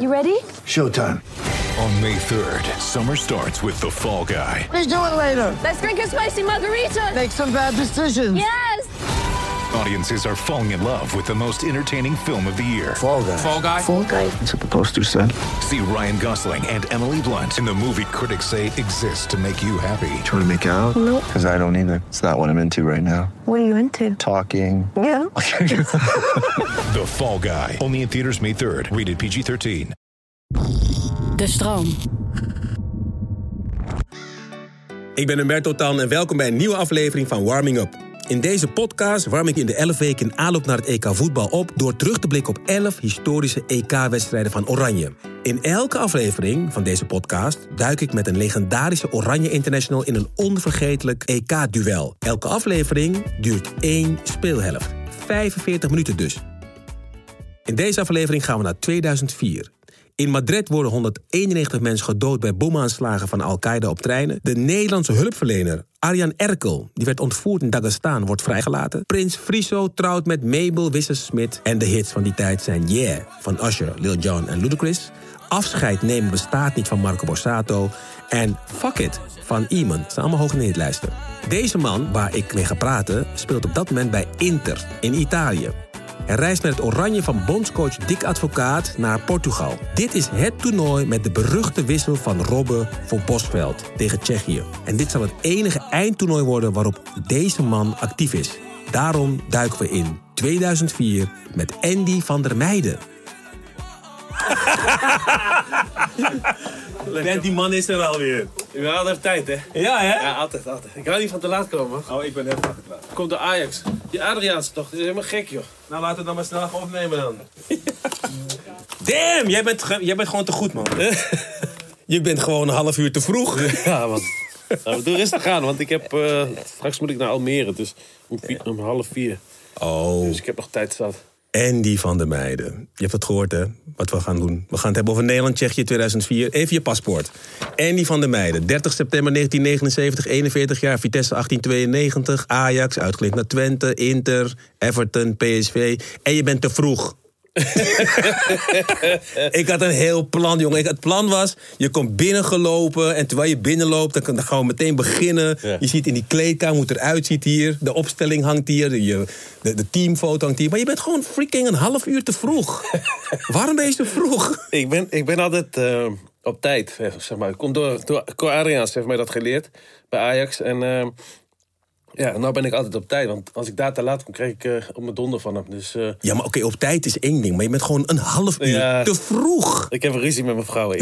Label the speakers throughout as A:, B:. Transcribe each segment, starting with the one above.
A: You ready?
B: Showtime.
C: On May 3rd, summer starts with The Fall Guy.
D: Let's do it later.
A: Let's drink a spicy margarita.
D: Make some bad decisions.
A: Yes.
C: Audiences are falling in love with the most entertaining film of the year.
B: Fall guy.
E: Fall guy.
D: Fall guy.
B: That's what the poster said.
C: See Ryan Gosling and Emily Blunt in the movie critics say exists to make you happy.
B: Trying to make it out?
A: Nope.
B: Because I don't either. It's not what I'm into right now.
A: What are you into?
B: Talking.
A: Yeah.
C: The Fall Guy. Only in theaters May 3rd. Rated PG 13.
F: De stroom.
G: Ik ben Humberto Tan en welkom bij een nieuwe aflevering van Warming Up. In deze podcast warm ik in de 11 weken in aanloop naar het EK voetbal op... door terug te blikken op 11 historische EK-wedstrijden van Oranje. In elke aflevering van deze podcast duik ik met een legendarische Oranje International... in een onvergetelijk EK-duel. Elke aflevering duurt één speelhelft. 45 minuten dus. In deze aflevering gaan we naar 2004. In Madrid worden 191 mensen gedood bij bomaanslagen van Al-Qaeda op treinen. De Nederlandse hulpverlener Arjan Erkel, die werd ontvoerd in Dagestan, wordt vrijgelaten. Prins Friso trouwt met Mabel Wissers-Smit. En de hits van die tijd zijn Yeah van Usher, Lil Jon en Ludacris. Afscheid nemen bestaat niet van Marco Borsato. En Fuck It van Iman. Dat zijn allemaal hoge hitlijsten. Deze man, waar ik mee ga praten, speelt op dat moment bij Inter in Italië. Hij reist met het oranje van bondscoach Dick Advocaat naar Portugal. Dit is het toernooi met de beruchte wissel van Robben voor Bosveld tegen Tsjechië. En dit zal het enige eindtoernooi worden waarop deze man actief is. Daarom duiken we in 2004 met Andy van der Meijden. Bent die man is er alweer.
H: We hadden even tijd, hè?
G: Ja, hè?
H: Ja, altijd, altijd. Ik hou niet van te laat komen.
G: Oh, ik ben heel te laat.
H: Komt door Ajax. Die Adriaanse toch, die is helemaal gek, joh.
G: Nou, laten we dan maar snel gaan opnemen dan. Damn, jij bent, ge- jij bent gewoon te goed, man. Je bent gewoon een half uur te vroeg.
H: Ja, man. Nou, doe rustig aan, want ik heb, eh, straks moet ik naar Almere, dus om, vi- om half vier.
G: Oh,
H: Dus ik heb nog tijd zat.
G: Andy van der Meijden. Je hebt het gehoord, hè? Wat we gaan doen. We gaan het hebben over Nederland-Tsjechië 2004. Even je paspoort. Andy van der Meijden. 30 september 1979, 41 jaar. Vitesse 1892. Ajax, uitgelinkt naar Twente. Inter, Everton, PSV. En je bent te vroeg. ik had een heel plan, jongen. Ik- Het plan was, je komt binnengelopen. En terwijl je binnenloopt, dan, kan- dan gaan we meteen beginnen.
H: Ja.
G: Je ziet in die kleedkamer hoe het eruit ziet hier. De opstelling hangt hier. De, je- de, de teamfoto hangt hier. Maar je bent gewoon freaking een half uur te vroeg. Waarom ben je zo vroeg?
H: Ik ben, ik ben altijd eh, op tijd, eh, zeg maar. Ik kom door, door Cor Adriaans heeft mij dat geleerd bij Ajax. En eh, ja, nou ben ik altijd op tijd, want als ik daar te laat kom, krijg ik eh, op mijn donder van hem. Dus eh,
G: Ja, maar oké, op tijd is één ding. Maar je bent gewoon een half uur
H: Ja.
G: te vroeg.
H: ik heb een ruzie met mijn vrouw. hè.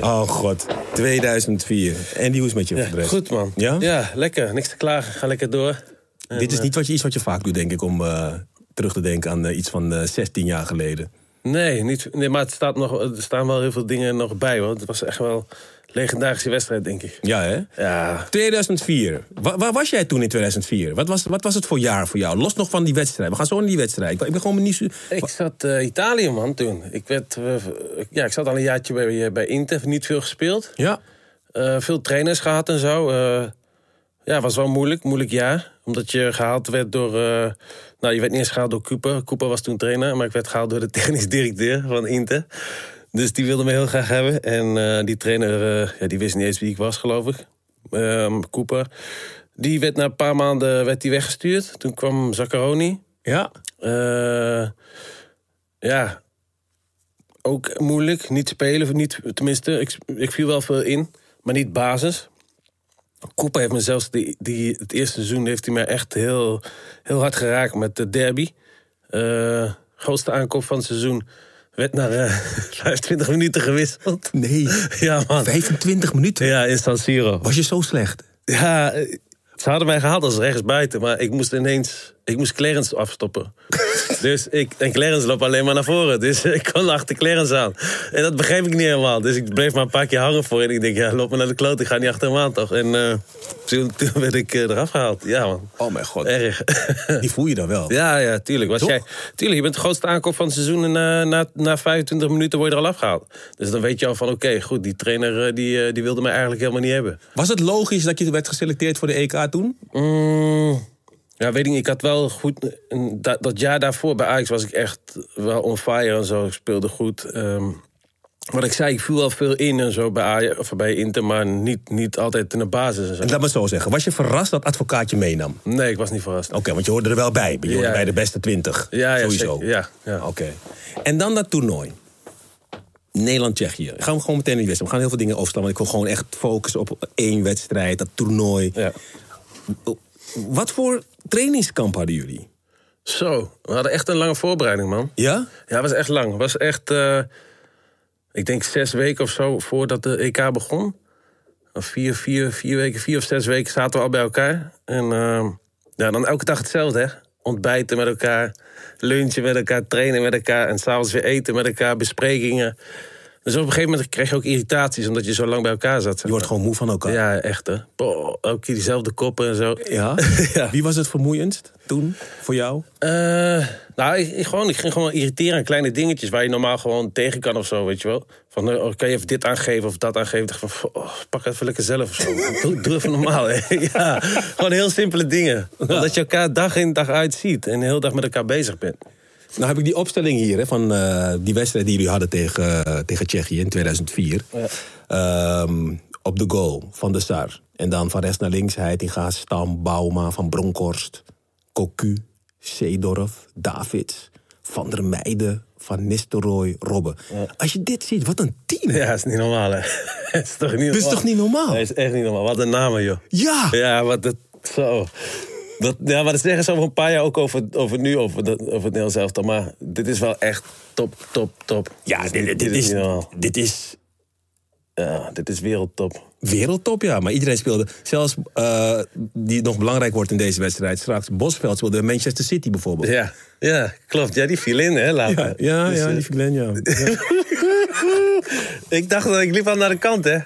G: Oh god, 2004. Andy, hoe is het met je voor de rest?
H: Goed, man.
G: Ja?
H: Ja, lekker. Niks te klagen. Ga lekker door.
G: Dit is niet wat je, iets wat je vaak doet, denk ik, om eh, terug te denken aan eh, iets van eh, 16 jaar geleden.
H: Nee, niet, nee maar het staat nog, er staan wel heel veel dingen nog bij. Want het was echt wel een legendarische wedstrijd, denk ik.
G: Ja, hè?
H: Ja,
G: 2004. Wa- waar was jij toen in 2004? Wat was, wat was het voor jaar voor jou? Los nog van die wedstrijd. We gaan zo naar die wedstrijd. Ik ben gewoon benieuwd.
H: ik zat eh, Italië, man, toen. Ik, werd, eh, ja, ik zat al een jaartje bij, eh, bij Inter, niet veel gespeeld.
G: Ja.
H: Eh, veel trainers gehad en zo. Eh, ja, was wel moeilijk, moeilijk jaar. Omdat je gehaald werd door... eh, nou, je werd niet eens gehaald door Cooper. Cooper was toen trainer, maar ik werd gehaald door de technisch directeur van Inter. Dus die wilde me heel graag hebben. En eh, die trainer, eh, ja, die wist niet eens wie ik was, geloof ik. Ehm Cooper. Die werd na een paar maanden werd die weggestuurd. Toen kwam Zaccaroni.
G: Ja.
H: Eh, ja, ook moeilijk. Niet spelen, niet, tenminste, ik, ik viel wel veel in, maar niet basis. Koepa heeft me zelfs die, die, het eerste seizoen heeft hij mij echt heel, heel hard geraakt met de derby. Eh, grootste aankoop van het seizoen werd na eh, 25 minuten gewisseld.
G: Nee.
H: Ja, man.
G: 25 minuten.
H: Ja, in San Siro.
G: Was je zo slecht?
H: Ja, eh, ze hadden mij gehaald als rechtsbuiten, maar ik moest ineens Ik moest Clarence afstoppen. dus ik, en Clarence loopt alleen maar naar voren. Dus ik kon achter Clarence aan. En dat begreep ik niet helemaal. Dus ik bleef maar een paar keer hangen voor. En ik denk, ja, loop me naar de kloot. Ik ga niet achter hem aan, toch? En eh, toen, toen werd ik eh, eraf gehaald. Ja, man.
G: Oh mijn god.
H: Erg.
G: Die voel je dan wel.
H: ja, ja, tuurlijk. Was
G: Toch?
H: jij, tuurlijk, je bent de grootste aankoop van het seizoen. En na, na, na 25 minuten word je er al afgehaald. Dus dan weet je al van, oké, goed. Die trainer eh, die, eh, die wilde mij eigenlijk helemaal niet hebben.
G: Was het logisch dat je werd geselecteerd voor de EK toen?
H: Mm, ja, weet ik niet. Ik had wel goed... een- Dat, dat jaar daarvoor bij Ajax was ik echt wel on fire en zo. Ik speelde goed. Ehm, wat ik zei, ik viel wel veel in en zo bij, Ajax, of bij Inter, maar niet, niet altijd in de basis en zo.
G: Laat me het zo zeggen. Was je verrast dat advocaatje meenam? Oké,
H: Nee, ik was niet verrast.
G: want je hoorde er wel bij. Je hoorde
H: Ja.
G: bij de beste twintig.
H: Ja, ja,
G: Sowieso.
H: zeker. Ja, ja.
G: Oké. En dan dat toernooi. Nederland-Tsjechië. Gaan we gewoon meteen in die wedstrijd. We gaan heel veel dingen overslaan. Want ik wil gewoon echt focussen op één wedstrijd. Dat toernooi.
H: Ja.
G: Wat voor trainingskamp hadden jullie?
H: Zo, we hadden echt een lange voorbereiding, man.
G: Ja?
H: Ja, was echt lang. was echt, eh, ik denk zes weken of zo voordat de EK begon. Of Vier, vier, vier weken, vier of zes weken zaten we al bij elkaar. En ehm, ja, dan elke dag hetzelfde, hè. Ontbijten met elkaar, lunchen met elkaar, trainen met elkaar... en s'avonds weer eten met elkaar, besprekingen. Dus op een gegeven moment kreeg je ook irritaties... omdat je zo lang bij elkaar zat.
G: Je wordt gewoon moe van elkaar.
H: Ja, echt, hè. Boah, elke keer diezelfde koppen en zo.
G: Ja?
H: Ja.
G: Wie was het vermoeiendst toen voor jou?
H: Eh, nou, ik, ik gewoon, ik ging gewoon irriteren aan kleine dingetjes waar je normaal gewoon tegen kan of zo, weet je wel. Van, eh, oh, kan je even dit aangeven of dat aangeven? Ik dacht van, oh, pak het even lekker zelf of zo. doe, doe even normaal, hè. Ja, gewoon heel simpele dingen. Omdat je elkaar dag in dag uit ziet en de hele dag met elkaar bezig bent.
G: Nou heb ik die opstelling hier hè, van eh, die wedstrijd die jullie hadden tegen, eh, tegen Tsjechië in 2004. Ehm, op de goal van de Sar. En dan van rechts naar links Heitinga, Stam, Bauma, Van Bronkhorst, Cocu, Seedorf, Davids, Van der Meijden, Van Nistelrooy, Robben. Als je dit ziet, wat een team.
H: Ja, is niet normaal, hè. is toch niet normaal?
G: Dat is toch niet normaal?
H: Nee, is echt niet normaal. Wat een namen, joh.
G: Ja!
H: Ja, wat dat. Zo. Dat, ja, maar dat zeggen ze over een paar jaar ook over, over nu, over, dat- over het Nederlands elftal. Maar dit is wel echt top, top, top.
G: Ja, dit, dit,
H: dit
G: is,
H: niet normaal.
G: dit is
H: Ja, dit is wereldtop.
G: Wereldtop, ja. Maar iedereen speelde. Zelfs eh, die nog belangrijk wordt in deze wedstrijd straks. Bosveld speelde Manchester City bijvoorbeeld.
H: Ja, ja, klopt. Ja, die viel in, hè, later.
G: ja,
H: Dus,
G: ja,
H: eh,
G: die Glenn, ja.
H: Ik dacht dat ik liep al naar de kant, hè.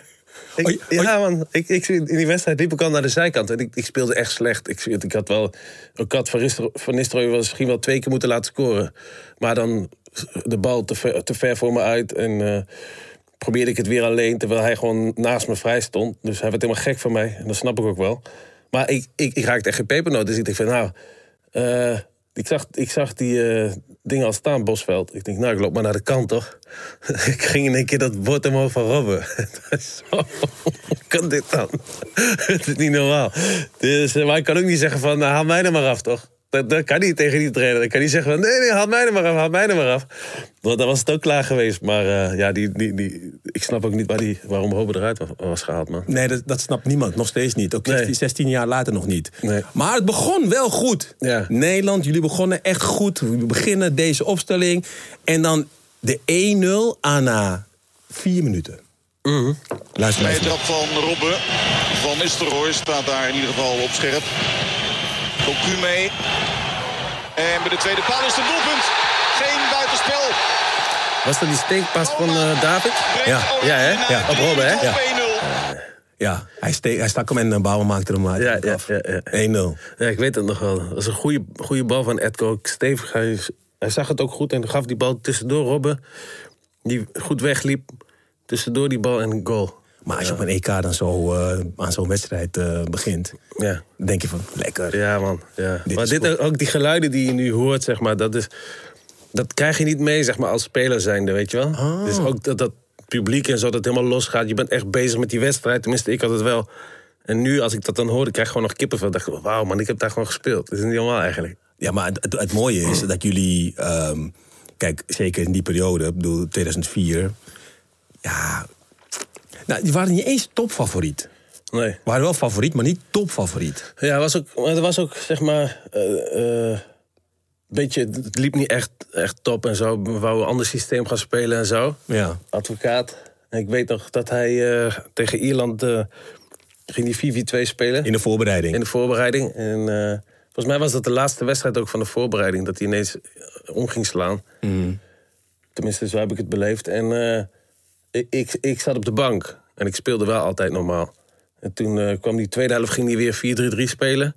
H: Ik,
G: Oh, je-
H: ja, man. Ik, ik, in die wedstrijd liep ik al naar de zijkant. En ik, ik speelde echt slecht. Ik, ik had wel... Ik had Van Nistel- Van Nistelrooy wel misschien wel twee keer moeten laten scoren. Maar dan de bal te ver, te ver voor me uit. En eh, probeerde ik het weer alleen. Terwijl hij gewoon naast me vrij stond. Dus hij werd helemaal gek van mij. En dat snap ik ook wel. Maar ik, ik, ik raakte echt geen pepernoot. Dus ik dacht van, nou... eh, ik zag, ik zag die eh, dingen al staan, Bosveld. Ik denk, nou, ik loop maar naar de kant, toch? ik ging in één keer dat bord omhoog van Robben. Zo, hoe kan dit dan? Het is niet normaal. Dus, eh, maar ik kan ook niet zeggen van, nou, haal mij er maar af, toch? Dat, dat kan niet tegen die trainer. Ik kan niet zeggen van, nee, nee, haal mij er maar af, haal mij er maar af. Want dan was het ook klaar geweest. Maar eh, ja, die, die, die, ik snap ook niet waar die, waarom Robben eruit was, was gehaald, man.
G: Nee, dat, dat snapt niemand. Nog steeds niet. Ook
H: Nee.
G: 16, 16 jaar later nog niet.
H: Nee.
G: Maar het begon wel goed.
H: Ja.
G: Nederland, jullie begonnen echt goed. We beginnen deze opstelling. En dan de 1-0 aan na vier minuten.
H: Mhm.
G: Luister maar
E: Bij
G: eens
E: het trap van Robben. Van Nistelrooy staat daar in ieder geval op scherp. Cocu mee. En bij de tweede paal is het doelpunt. Geen buitenspel.
H: Was dat die steekpas van eh, David?
E: Breekt
G: Ja,
E: Oranje
H: ja, hè?
E: naar
H: Ja, op Robben, hè?
E: tot
H: Ja.
E: 2-0.
G: Ja, hij, ste- hij stak hem en eh, Bouwen maakte hem uit.
H: Ja, ja, ja, ja.
G: 1-0.
H: Ja, ik weet het nog wel. Dat was een goede, goede bal van Edko. Stevig, hij, hij zag het ook goed en gaf die bal tussendoor Robben. Die goed wegliep. Tussendoor die bal en goal.
G: Maar als je op een EK dan zo eh, aan zo'n wedstrijd eh, begint,
H: Ja,
G: dan denk je van lekker.
H: ja man. Ja.
G: Dit
H: maar
G: is
H: dit,
G: goed.
H: ook- ook die geluiden die je nu hoort, zeg maar, dat, is, dat krijg je niet mee zeg maar, als speler zijnde, weet je wel.
G: Ah.
H: Dus ook dat, dat publiek en zo, dat het helemaal losgaat. Je bent echt bezig met die wedstrijd. Tenminste, ik had het wel. En nu, als ik dat dan hoorde, krijg ik gewoon nog kippenvel. dacht ik, wauw man, ik heb daar gewoon gespeeld. Dat is niet normaal eigenlijk.
G: Ja, maar het, het mooie is dat jullie, ehm, kijk, zeker in die periode, ik bedoel 2004, ja, nou, die waren niet eens topfavoriet.
H: Nee.
G: We waren wel favoriet, maar niet topfavoriet.
H: Ja, het was ook, maar het was ook zeg maar. eh, eh, beetje, het liep niet echt, echt top en zo. We wouden een ander systeem gaan spelen en zo.
G: Ja.
H: Advocaat. En ik weet nog dat hij eh, tegen Ierland. eh, ging die 4-4-2 spelen.
G: In de voorbereiding.
H: In de voorbereiding. En eh, Volgens mij was dat de laatste wedstrijd ook van de voorbereiding. Dat hij ineens eh, om ging slaan. Tenminste, zo heb ik het beleefd. En eh, ik, ik, ik zat op de bank. En ik speelde wel altijd normaal. En toen eh, kwam die tweede helft, ging hij weer 4-3-3 spelen.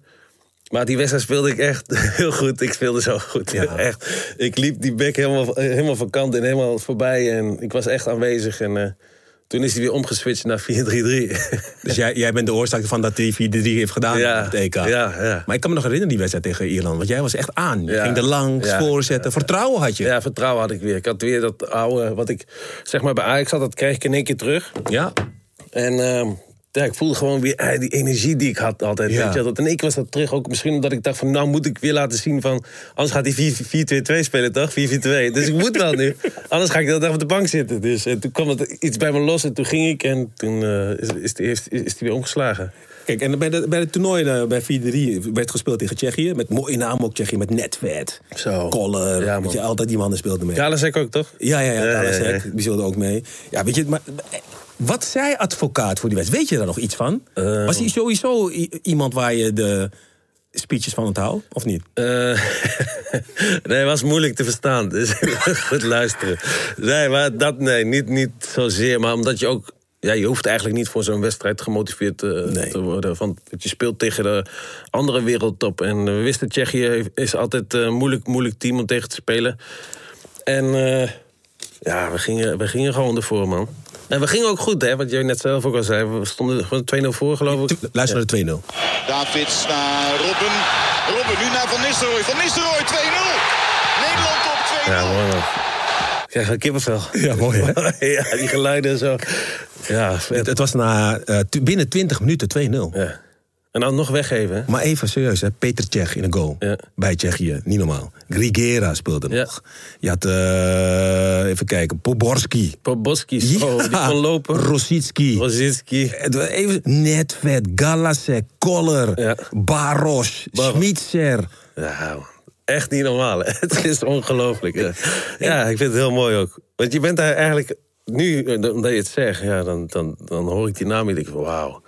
H: Maar die wedstrijd speelde ik echt heel goed. Ik speelde zo goed. Echt. Ik liep die bek helemaal, eh, helemaal van kant en helemaal voorbij. En ik was echt aanwezig. En eh, toen is hij weer omgeswitcht naar 4-3-3.
G: Dus jij, jij bent de oorzaak ervan dat hij 4-3 heeft gedaan op het EK.
H: Ja, ja.
G: Maar ik kan me nog herinneren die wedstrijd tegen Ierland. Want jij was echt aan. Je
H: Ja.
G: ging er langs,
H: Ja.
G: voorzetten. Vertrouwen had je.
H: Ja, vertrouwen had ik weer. Ik had weer dat oude, wat ik zeg maar bij Ajax had, dat kreeg ik in één keer terug.
G: Ja.
H: En ehm, ja, ik voelde gewoon weer eh, die energie die ik had altijd.
G: Ja.
H: Weet je, dat, en ik was dat terug, ook misschien omdat ik dacht van... nou moet ik weer laten zien van... anders gaat hij 4-4-2 spelen, toch? 4-4-2. Dus ik moet wel nu. Anders ga ik de hele dag op de bank zitten. Dus eh, toen kwam het iets bij me los en toen ging ik... en toen eh, is, is, die, heeft- is, is die weer omgeslagen.
G: Kijk, en bij, de, bij het toernooi eh, bij 4-3 werd gespeeld tegen Tsjechië. Met mooie naam ook Tsjechië. Met Netvet,
H: Zo.
G: Koller.
H: Ja, man.
G: weet je, altijd die mannen speelden mee.
H: Kalasek ook, toch?
G: Ja, ja,
H: Ja,
G: ja.
H: ja,
G: Kalasek,
H: ja.
G: die speelde ook mee. Ja, weet je, maar eh, wat zei advocaat voor die wedstrijd? Weet je daar nog iets van?
H: Eh.
G: Was hij sowieso i- iemand waar je de speeches van onthoudt, of niet?
H: Eh, nee, het was moeilijk te verstaan. Dus goed luisteren. Nee, maar dat nee, niet, niet zozeer. Maar omdat je ook. Ja, je hoeft eigenlijk niet voor zo'n wedstrijd gemotiveerd eh,
G: Nee.
H: te worden. Want je speelt tegen de andere wereldtop. En we wisten, Tsjechië is altijd eh, een moeilijk, moeilijk team om tegen te spelen. En eh, ja, we gingen, we gingen gewoon ervoor, man. En we gingen ook goed, hè? Wat jij net zelf ook al zei. We stonden gewoon 2-0 voor, geloof ik.
G: Luister naar de 2-0.
E: Davids naar Robben. Robben nu naar Van Nistelrooy. Van Nistelrooy 2-0. Nederland op 2-0.
H: Ja, mooi man. Ik krijg wel kippenvel.
G: Ja, mooi, hè?
H: ja, die geluiden en zo. Ja,
G: Het,
H: vet.
G: het was na, eh, tu- binnen 20 minuten 2-0.
H: Ah, Ja. En dan nog weggeven, hè?
G: Maar even serieus, hè? Peter Tsjech in een goal.
H: Ja.
G: Bij Tsjechië, niet normaal. Grigera speelde
H: Ja.
G: nog. Je had, eh, even kijken, Poborski.
H: Poboski, zo, Oh, die
G: Ja.
H: kon lopen.
G: Rosicki.
H: Rosicki.
G: Het was Even, Netvet, Galasek, Koller,
H: Ja.
G: Baros,
H: Baros.
G: Schmitzer.
H: Ja, man. Nou, Echt niet normaal, hè? Het is ongelooflijk. Ja. ja, ik vind het heel mooi ook. Want je bent daar eigenlijk... Nu, eh, omdat je het zegt, ja, dan, dan, dan hoor ik die naam en denk ik... Wauw,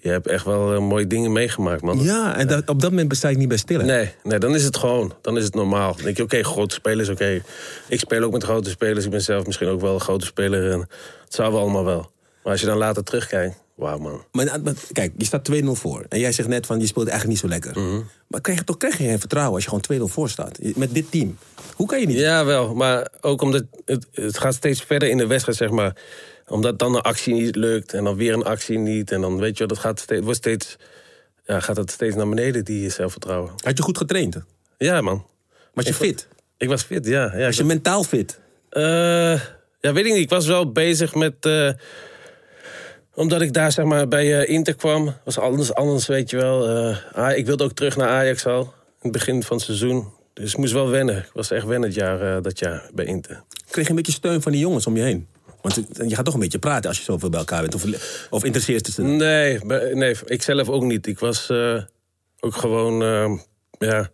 H: je hebt echt wel eh, mooie dingen meegemaakt, man.
G: Ja, en dat, op dat moment besta ik niet bij stil. hè?
H: Nee, nee, dan is het gewoon. Dan is het normaal. Dan denk je, oké, grote spelers, oké. Ik speel ook met grote spelers. Ik ben zelf misschien ook wel een grote speler. En het zou wel allemaal wel. Maar als je dan later terugkijkt... Wauw, man.
G: Maar, eh, maar kijk, je staat 2-0 voor. En jij zegt net van, je speelt eigenlijk niet zo lekker.
H: Mhm.
G: Maar krijg je toch krijg je geen vertrouwen als je gewoon 2-0 voor staat. Je- Met dit team. Hoe kan je niet?
H: Ja, wel. Maar ook omdat het, het gaat steeds verder in de wedstrijd, zeg maar. Omdat dan een actie niet lukt. En dan weer een actie niet. En dan, weet je wel, dat gaat steeds, wordt steeds... Ja, gaat het steeds naar beneden, die zelfvertrouwen.
G: Had je goed getraind?
H: Ja, man.
G: Was je fit?
H: Ik was fit, ja. ja
G: Was je mentaal fit?
H: Eh, ja, weet ik niet. Ik was wel bezig met. eh, omdat ik daar zeg maar, bij eh, Inter kwam. Was anders, anders weet je wel. Eh, ah, ik wilde ook terug naar Ajax al. In het begin van het seizoen. Dus ik moest wel wennen. Ik was echt wennen het jaar, eh, dat jaar bij Inter.
G: Kreeg je een beetje steun van die jongens om je heen? Want het- je gaat toch een beetje praten als je zoveel bij elkaar bent. Of, of interesseert
H: Mm,
G: het ze?
H: Nee, be- nee, ik zelf ook niet. Ik was eh, ook gewoon eh, ja,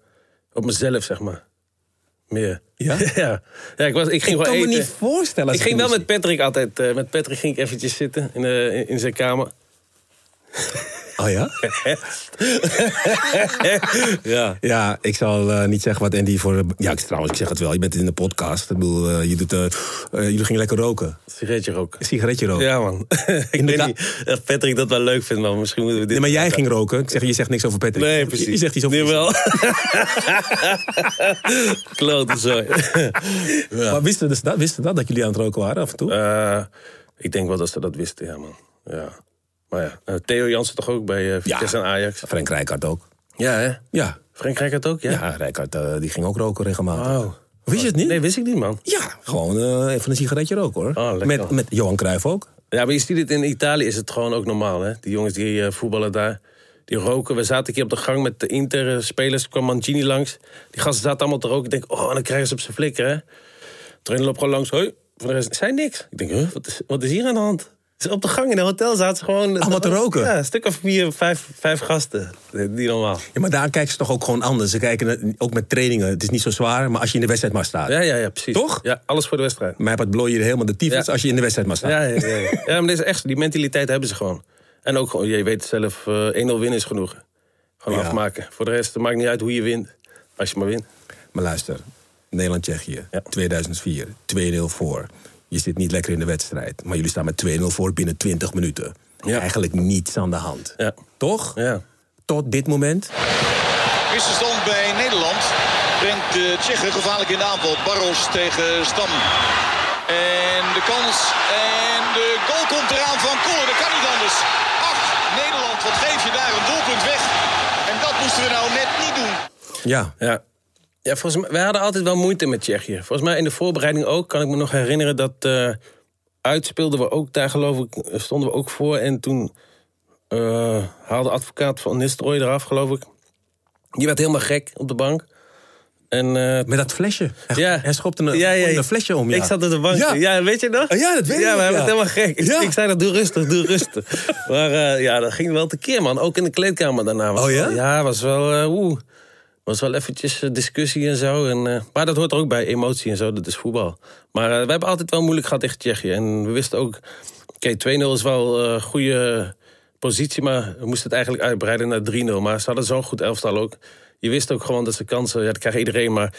H: op mezelf, zeg maar. Meer.
G: Ja?
H: ja. ja ik, was, ik ging
G: Ik
H: wel
G: kan me
H: eten.
G: niet voorstellen. als
H: Ik ging wel
G: het
H: met Patrick altijd. eh, met Patrick ging ik eventjes zitten in, eh, in- in zijn kamer.
G: is. Oh ja?
H: Ja.
G: Ja, ik zal eh, niet zeggen wat Andy voor... Ja, ik, trouwens, ik zeg het wel. Je bent in de podcast. Ik bedoel, eh, je doet, eh, eh, jullie gingen lekker roken.
H: Sigaretje roken.
G: Een sigaretje roken.
H: Ja, man. ik weet
G: Inderdaad.
H: niet of Patrick dat wel leuk vindt, maar misschien moeten we dit...
G: Nee, maar jij ging roken. Ik zeg, je zegt niks over Patrick.
H: Nee, precies.
G: Je, je zegt iets over...
H: Nee, wel. Klote zooi.
G: Maar wisten dus dat, wisten dat, dat jullie aan het roken waren af en toe?
H: Eh, ik denk wel dat ze dat wisten, ja, man. Ja. Maar ja, eh, Theo Jansen toch ook bij eh Vitesse en Ajax?
G: Frank Rijkaard ook.
H: Ja, hè?
G: Ja.
H: Frank Rijk het ook, ja?
G: Ja, Rijkaard, eh, die ging ook roken regelmatig.
H: Oh.
G: Wist je het niet?
H: Nee, wist ik niet, man.
G: Ja, gewoon eh, even een sigaretje roken hoor.
H: Oh, lekker.
G: met, met Johan Cruijff ook.
H: Ja, maar je ziet het in Italië is het gewoon ook normaal. Hè? Die jongens die eh, voetballen daar, die roken. We zaten een keer op de gang met de Inter-spelers. kwam Mancini langs. Die gasten zaten allemaal te roken. Ik denk, oh, dan krijgen ze op zijn flikker, hè. Trainer loopt gewoon langs. Hoi, voor de rest, zei niks. Ik denk, huh, wat is, wat is hier aan de hand? Dus op de gang in een hotel zaten ze gewoon...
G: Allemaal te roken?
H: Ja, een stuk of vier, vijf, vijf gasten. Niet normaal.
G: Ja, maar daar kijken ze toch ook gewoon anders. Ze kijken eh, ook met trainingen. Het is niet zo zwaar, maar als je in de wedstrijd maar staat.
H: Ja, ja, ja, precies.
G: Ah. Toch?
H: Ja, alles voor de wedstrijd.
G: Mij het blooi je helemaal de tyfus
H: Ja.
G: als je in de wedstrijd maar staat.
H: Ja, ja, ja. ja. ja maar dit is echt, die mentaliteit hebben ze gewoon. En ook gewoon, je weet het zelf, eh, 1-0 winnen is genoeg. Gewoon
G: Ja.
H: afmaken. Voor de rest, het maakt niet uit hoe je wint. Als je maar wint.
G: Maar luister, Nederland-Tsjechië,
H: Ja.
G: 2004, 2-0 voor. Je zit niet lekker in de wedstrijd, maar jullie staan met 2-0 voor binnen 20 minuten.
H: Ja.
G: Eigenlijk niets aan de hand.
H: Ja.
G: Toch?
H: Ja.
G: Tot dit moment.
E: Misverstand bij Nederland brengt de Tsjechen gevaarlijk in de aanval. Barros tegen Stam. En de kans en de goal komt eraan van Koller. Dat kan niet anders. Ach, Nederland, wat geef je daar een doelpunt weg. En dat moesten we nou net niet doen.
G: Ja.
H: Ja. Ja, volgens mij, wij hadden altijd wel moeite met Tsjechië. Volgens mij in de voorbereiding ook, kan ik me nog herinneren dat eh uitspeelden we ook daar geloof ik, stonden we ook voor. En toen eh, haalde advocaat van Nistelrooy eraf geloof ik. Die werd helemaal gek op de bank. En eh,
G: Met dat flesje. Hij,
H: ja.
G: hij schopte een, een flesje om. Ja.
H: Ik zat op de bank. Ja, weet je nog?
G: Oh, ja, dat weet ik
H: Ja,
G: nog,
H: maar hij werd
G: ja.
H: helemaal gek. Ik,
G: Ja.
H: ik zei dat, doe rustig, doe rustig. maar eh, ja, dat ging wel tekeer, man. Ook in de kleedkamer daarna. Was
G: Oh, ja?
H: wel- ja, was wel... eh, Oeh. Was wel eventjes eh, discussie en zo. En, eh, maar dat hoort er ook bij, emotie en zo. Dat is voetbal. Maar eh, we hebben altijd wel moeilijk gehad tegen Tsjechië. En we wisten ook... Oké, 2-0 is wel een goede positie, maar we moesten het eigenlijk uitbreiden naar 3-0. Maar ze hadden zo'n goed elftal ook. Je wist ook gewoon dat ze kansen... Ja, dat krijgt iedereen, maar...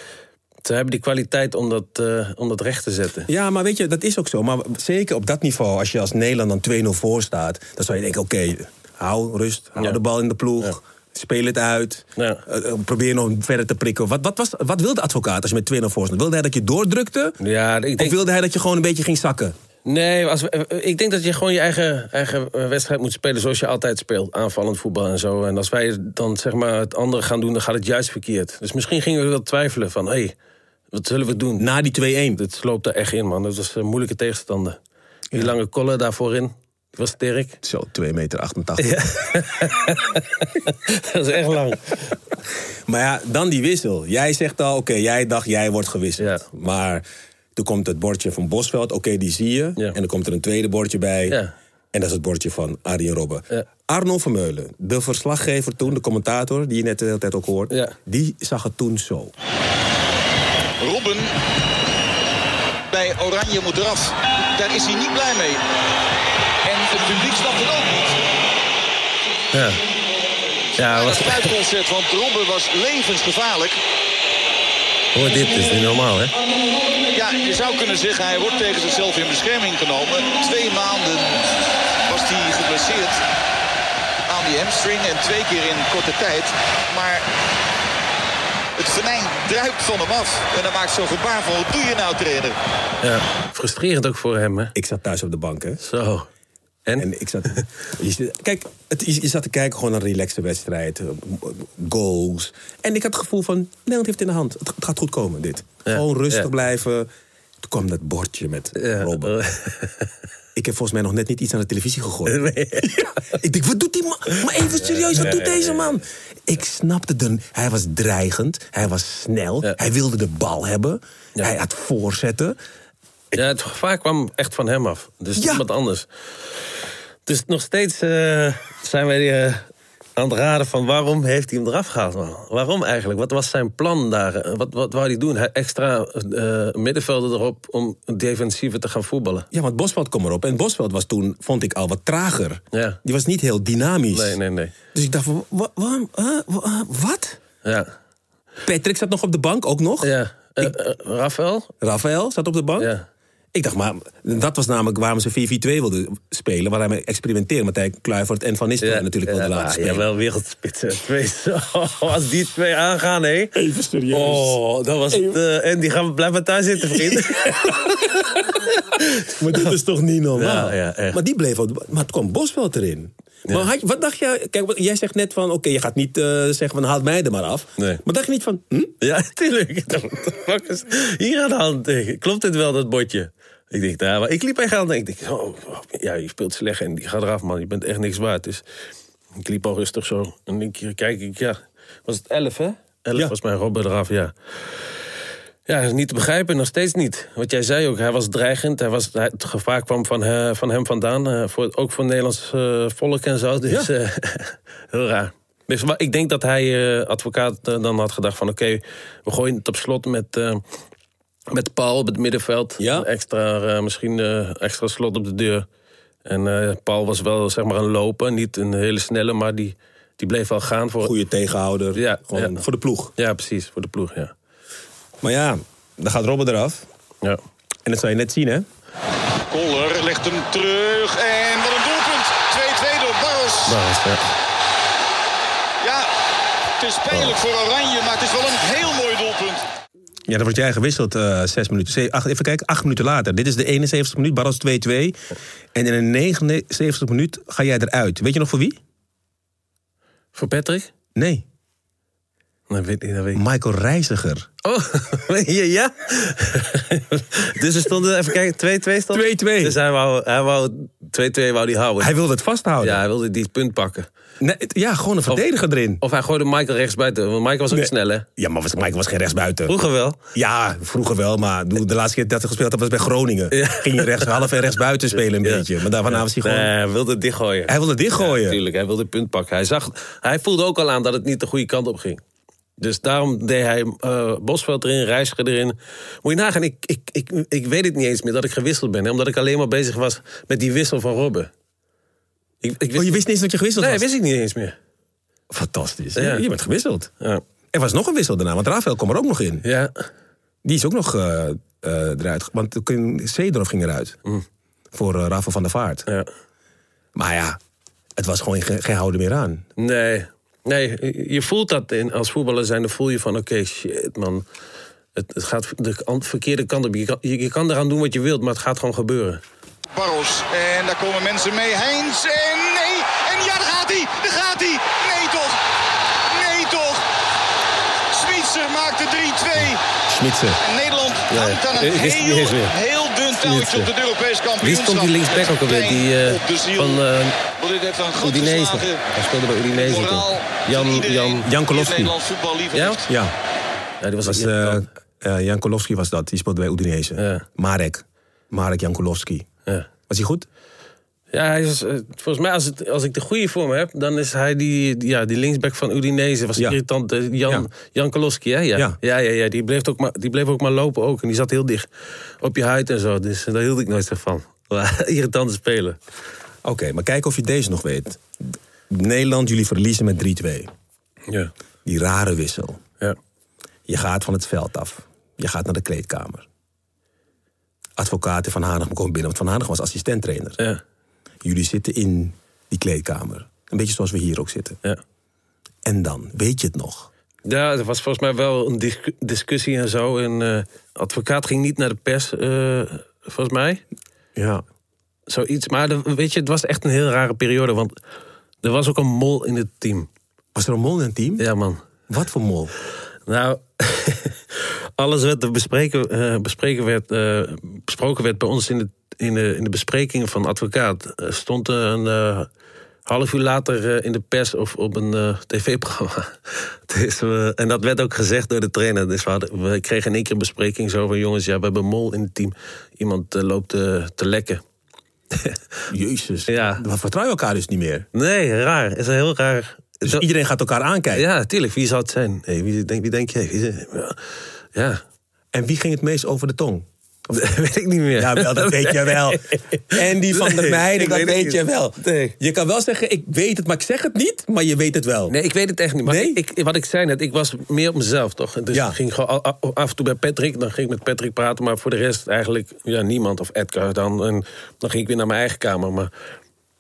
H: Ze hebben die kwaliteit om dat, eh, om dat recht te zetten.
G: Ja, maar weet je, dat is ook zo. Maar zeker op dat niveau, als je als Nederland dan 2-0 voor staat... dan zou je denken, oké, hou rust, hou
H: Ja.
G: de bal in de ploeg... Speel het uit.
H: Ja.
G: eh, eh, probeer nog verder te prikken. Wat, wat, was, wat wilde de advocaat als je met 2-0 voor stond? Wilde hij dat je doordrukte?
H: Ja, ik
G: Of
H: denk,
G: wilde hij dat je gewoon een beetje ging zakken?
H: nee, als, we- eh, ik denk dat je gewoon je eigen, eigen eh, wedstrijd moet spelen zoals je altijd speelt. Aanvallend voetbal en zo. En als wij dan zeg maar het andere gaan doen, dan gaat het juist verkeerd. Dus misschien gingen we wel twijfelen van, hé, hey, wat zullen we doen?
G: Na die 2-1.
H: Dit sloopt daar echt in, man. Dat was een moeilijke tegenstander. Die lange kollen daarvoor in, die was sterk.
G: Zo, 2 meter 88.
H: dat is echt lang.
G: Maar ja, dan die wissel. Jij zegt al, oké, jij dacht, jij wordt gewisseld.
H: Ja.
G: Maar toen komt het bordje van Bosveld, oké, die zie je.
H: Ja.
G: En dan komt er een tweede bordje bij.
H: Ja.
G: En dat is het bordje van Arjen Robben.
H: Ja.
G: Arno Vermeulen, de verslaggever toen, de commentator... die je net de hele tijd ook hoort,
H: Ja.
G: die zag het toen zo.
E: Robben bij Oranje moet eraf. Daar is hij niet blij mee. En het publiek snapt het ook niet.
H: Ja, ja
E: Maar dat
H: was,
E: fluitconcert, want Robben was levensgevaarlijk.
H: hoor dit, dit is niet normaal, hè?
E: Ja, je zou kunnen zeggen, hij wordt tegen zichzelf in bescherming genomen. Twee maanden was hij geblesseerd aan die hamstring en twee keer in korte tijd. Maar het venijn druipt van hem af. En hij maakt zo'n gebaar van, wat doe je nou trainer?
H: Ja, frustrerend ook voor hem, hè?
G: Ik zat thuis op de bank, hè.
H: Zo. En?
G: En ik zat, je zit- kijk, het, je, je zat te kijken, gewoon een relaxte wedstrijd. eh, Goals. En ik had het gevoel van, Nederland heeft het in de hand. Het, het gaat goed komen, dit.
H: Ja,
G: Gewoon rustig
H: ja.
G: blijven. Toen kwam dat bordje met
H: Ja. oh.
G: Robben. Ik heb volgens mij nog net niet iets aan de televisie gegooid.
H: Nee.
G: Ja, ik denk, wat doet die man? Maar even serieus, wat doet deze man? Ik snapte dan. Hij was dreigend, hij was snel,
H: Ja.
G: hij wilde de bal hebben.
H: Ja.
G: Hij had voorzetten.
H: Ja, het gevaar kwam echt van hem af. Dus
G: Ja.
H: iemand anders. Dus nog steeds eh, zijn wij eh, aan het raden van waarom heeft hij hem eraf gehaald? man? Waarom eigenlijk? Wat was zijn plan daar? Eh, Wat, wat wou hij doen? Hij extra eh middenvelden erop om defensiever te gaan voetballen.
G: Ja, want Bosveld kwam erop. En Bosveld was toen, vond ik al wat trager.
H: Ja.
G: Die was niet heel dynamisch.
H: Nee, nee, nee.
G: Dus ik dacht van, wa- waarom, huh? Wa- huh? wat?
H: Ja.
G: Patrick zat nog op de bank, ook nog.
H: ja. Eh, eh, Rafael?
G: Rafael zat op de bank.
H: Ja.
G: Ik dacht, maar dat was namelijk waarom ze 4-4-2 wilden spelen. Waar hij experimenteren. Martijn Kluivert en Van Nistelrooy natuurlijk wilden laten spelen.
H: wel wereldspitsen. Twee, als die twee aangaan, hé.
G: Even serieus.
H: Oh, dat was het. eh, en die gaan blijven thuis zitten, vriend.
G: Maar dit is toch niet normaal?
H: Ja, ja, echt.
G: maar die bleef op de- Maar het kwam Bosveld erin. Maar had je- wat dacht jij? Kijk, wat- jij zegt net van, oké, je gaat niet eh, zeggen van haal mij er maar af.
H: Nee.
G: Maar dacht je niet van, hm?
H: Ja, tuurlijk. What the fuck is hier aan de hand tegen? Klopt dit wel, dat bordje? Ik denk, nou, maar ik liep echt aan. Ik denk, oh, oh, ja, je speelt slecht en die gaat eraf, man. Je bent echt niks waard. Dus ik liep al rustig zo. En een keer kijk ik, ja, was het elf, hè? Elf
G: Ja.
H: was mijn Robben eraf, ja. Ja, dat is niet te begrijpen, nog steeds niet. Wat jij zei ook, hij was dreigend. Hij was, hij- het gevaar kwam van, eh, van hem vandaan. eh, voor, ook voor het Nederlands eh, volk en zo. Dus eh, heel raar. Dus, maar ik denk dat hij, eh, advocaat, eh, dan had gedacht van... oké, we gooien het op slot met, eh, met Paul op het middenveld.
G: Ja.
H: Een Extra, eh, misschien eh, extra slot op de deur. En eh, Paul was wel zeg maar een loper. Niet een hele snelle, maar die, Die bleef al gaan voor...
G: Goede tegenhouder.
H: Ja,
G: gewoon
H: ja.
G: voor de ploeg.
H: Ja, precies. Voor de ploeg, ja.
G: Maar ja, dan gaat Robben eraf.
H: ja.
G: En dat zal je net zien, hè?
E: Koller legt hem terug. En wat een doelpunt. 2-2 door Barros.
H: Nou, dat is, ja.
E: Ja, het is pijnlijk voor Oranje, maar het is wel een heel mooi doelpunt.
G: Ja, dan word jij gewisseld eh, zes minuten. Zeven, acht, even kijken, acht minuten later. Dit is de 71 minuut, Barros 2-2. En in de 79 minuut ga jij eruit. Weet je nog voor wie?
H: Voor Patrick?
G: Nee,
H: Dat weet ik, dat weet ik.
G: Michael Reiziger.
H: Oh, ja. ja. dus er stonden, even kijken, 2-2 stond.
G: 2-2.
H: Dus hij wou, hij wou 2-2 wou die houden.
G: Hij wilde het vasthouden.
H: ja,
G: Ja,
H: hij wilde die punt pakken.
G: ja gewoon een verdediger erin.
H: Of hij gooide Michael rechts buiten. Want Michael was ook
G: Nee.
H: snel, hè?
G: Ja, maar was, Michael was geen rechtsbuiten.
H: Vroeger wel.
G: Ja, vroeger wel, maar doe- de laatste keer dat hij gespeeld had was bij Groningen. Ging je rechts half en rechts buiten spelen een
H: Ja.
G: beetje. Maar daarvan was hij
H: Nee,
G: gewoon...
H: hij wilde het dichtgooien.
G: Hij wilde
H: Ja,
G: dichtgooien.
H: tuurlijk, hij wilde het punt pakken. Hij, zag, hij voelde ook al aan dat het niet de goede kant op ging. Dus daarom deed hij eh, Bosveld erin, Reiziger erin. Moet je nagaan, ik, ik, ik, ik weet het niet eens meer dat ik gewisseld ben. Hè, omdat ik alleen maar bezig was met die wissel van Robben. Ik, ik
G: oh, je wist niet eens dat je gewisseld
H: Nee,
G: was?
H: wist ik niet eens meer.
G: Fantastisch.
H: Ja.
G: Je bent gewisseld.
H: Ja.
G: Er was nog een wissel daarna, want Rafael kwam er ook nog in.
H: Ja.
G: Die is ook nog eh, eh, eruit. Want toen- Seedorf ging eruit. Voor eh, Rafael van der Vaart.
H: Mm. ja.
G: Maar ja, het was gewoon geen, geen houden meer aan.
H: Nee. Nee, je voelt dat in, als voetballer zijn. Dan voel je van, oké, shit, man. Het, het gaat de kan- verkeerde kant op. Je kan, je, je kan eraan doen wat je wilt, maar het gaat gewoon gebeuren.
E: Barros. En daar komen mensen mee. Heinz. En nee. En ja, daar gaat hij. Daar gaat hij. Nee toch. Nee toch. Zwitser maakt de 3-2.
G: Schmitsen.
E: En Nederland hangt aan
H: ik
E: een
H: wist het niet
E: heel,
H: eens meer.
E: heel dun touwtje op het Europees kampioenschap.
H: Wie stond die linksback ook alweer? Die, eh,
E: Op de ziel.
H: van eh
E: Want dit heeft een goed
H: Udinese.
E: geslagen.
H: Hij speelde bij Udinese
E: Moraal
H: toen.
E: van
H: Jan,
E: iedereen
H: Jan,
E: die
G: Jan
E: het
G: Kolofsky.
E: Nederlands voetbal lief
H: Ja?
E: heeft.
G: Ja,
H: Ja, die was
G: dat
H: als
G: was, eh, eh, Jan Kolofsky was dat. Die speelde bij Udinese.
H: Ja.
G: Marek. Marek Jan Kolofsky.
H: ja.
G: Was hij goed?
H: ja, hij is, eh, volgens mij, als, het, als ik de goede voor me heb, dan is hij die, die- ja, die linksback van Udinese. Was
G: Ja.
H: irritant. eh, Jan,
G: Ja.
H: Jan Koloski, hè? Ja.
G: Ja.
H: Ja. Ja, ja, Die, bleef ook maar, die bleef ook maar lopen ook. En die zat heel dicht op je huid en zo. Dus eh, daar hield ik nooit zo van. Irritante spelen.
G: Oké, maar kijk of je deze nog weet. Nederland, jullie verliezen met 3-2.
H: Ja.
G: Die rare wissel.
H: ja.
G: Je gaat van het veld af. Je gaat naar de kleedkamer. Advocaten van Hanegem komen binnen, want Van Hanegem was assistenttrainer.
H: Ja.
G: Jullie zitten in die kleedkamer. Een beetje zoals we hier ook zitten.
H: ja.
G: En dan, weet je het nog?
H: Ja, er was volgens mij wel een dis- discussie en zo. En eh, advocaat ging niet naar de pers, eh, volgens mij.
G: Ja.
H: Zoiets. Maar de- weet je, het was echt een heel rare periode. Want er was ook een mol in het team.
G: Was er een mol in het team?
H: Ja, man.
G: Wat voor mol?
H: Nou, alles wat er bespreken, eh, bespreken werd, eh, besproken werd bij ons in de, in de, in de bespreking van advocaat... eh, stond er een eh, half uur later eh, in de pers of op een eh, tv-programma. dus, we- en dat werd ook gezegd door de trainer. Dus we, hadden- we kregen in één keer een bespreking zo van... jongens, ja, we hebben een mol in het team. Iemand eh, loopt eh, te lekken.
G: Jezus.
H: Ja.
G: We vertrouwen elkaar dus niet meer.
H: Nee, raar. Is een heel raar...
G: Dus iedereen gaat elkaar aankijken.
H: Ja, tuurlijk. Wie zou het zijn? Hey, wie, denk, wie denk je? Wie is- ja. ja,
G: En wie ging het meest over de tong?
H: dat weet ik niet meer.
G: Ja, wel, dat weet je wel. En die van de
H: Nee,
G: meiden,
H: ik
G: dat
H: weet het
G: weet
H: niet.
G: je wel.
H: Nee.
G: Je kan wel zeggen, ik weet het, maar ik zeg het niet, maar je weet het wel.
H: Nee, ik weet het echt niet. Maar
G: Oh. Nee?
H: ik, wat ik zei net, ik was meer op mezelf, toch? Dus
G: Ja.
H: ik ging gewoon a- a- af en toe bij Patrick, dan ging ik met Patrick praten. Maar voor de rest eigenlijk ja, niemand of Edgar dan. En dan ging ik weer naar mijn eigen kamer. Maar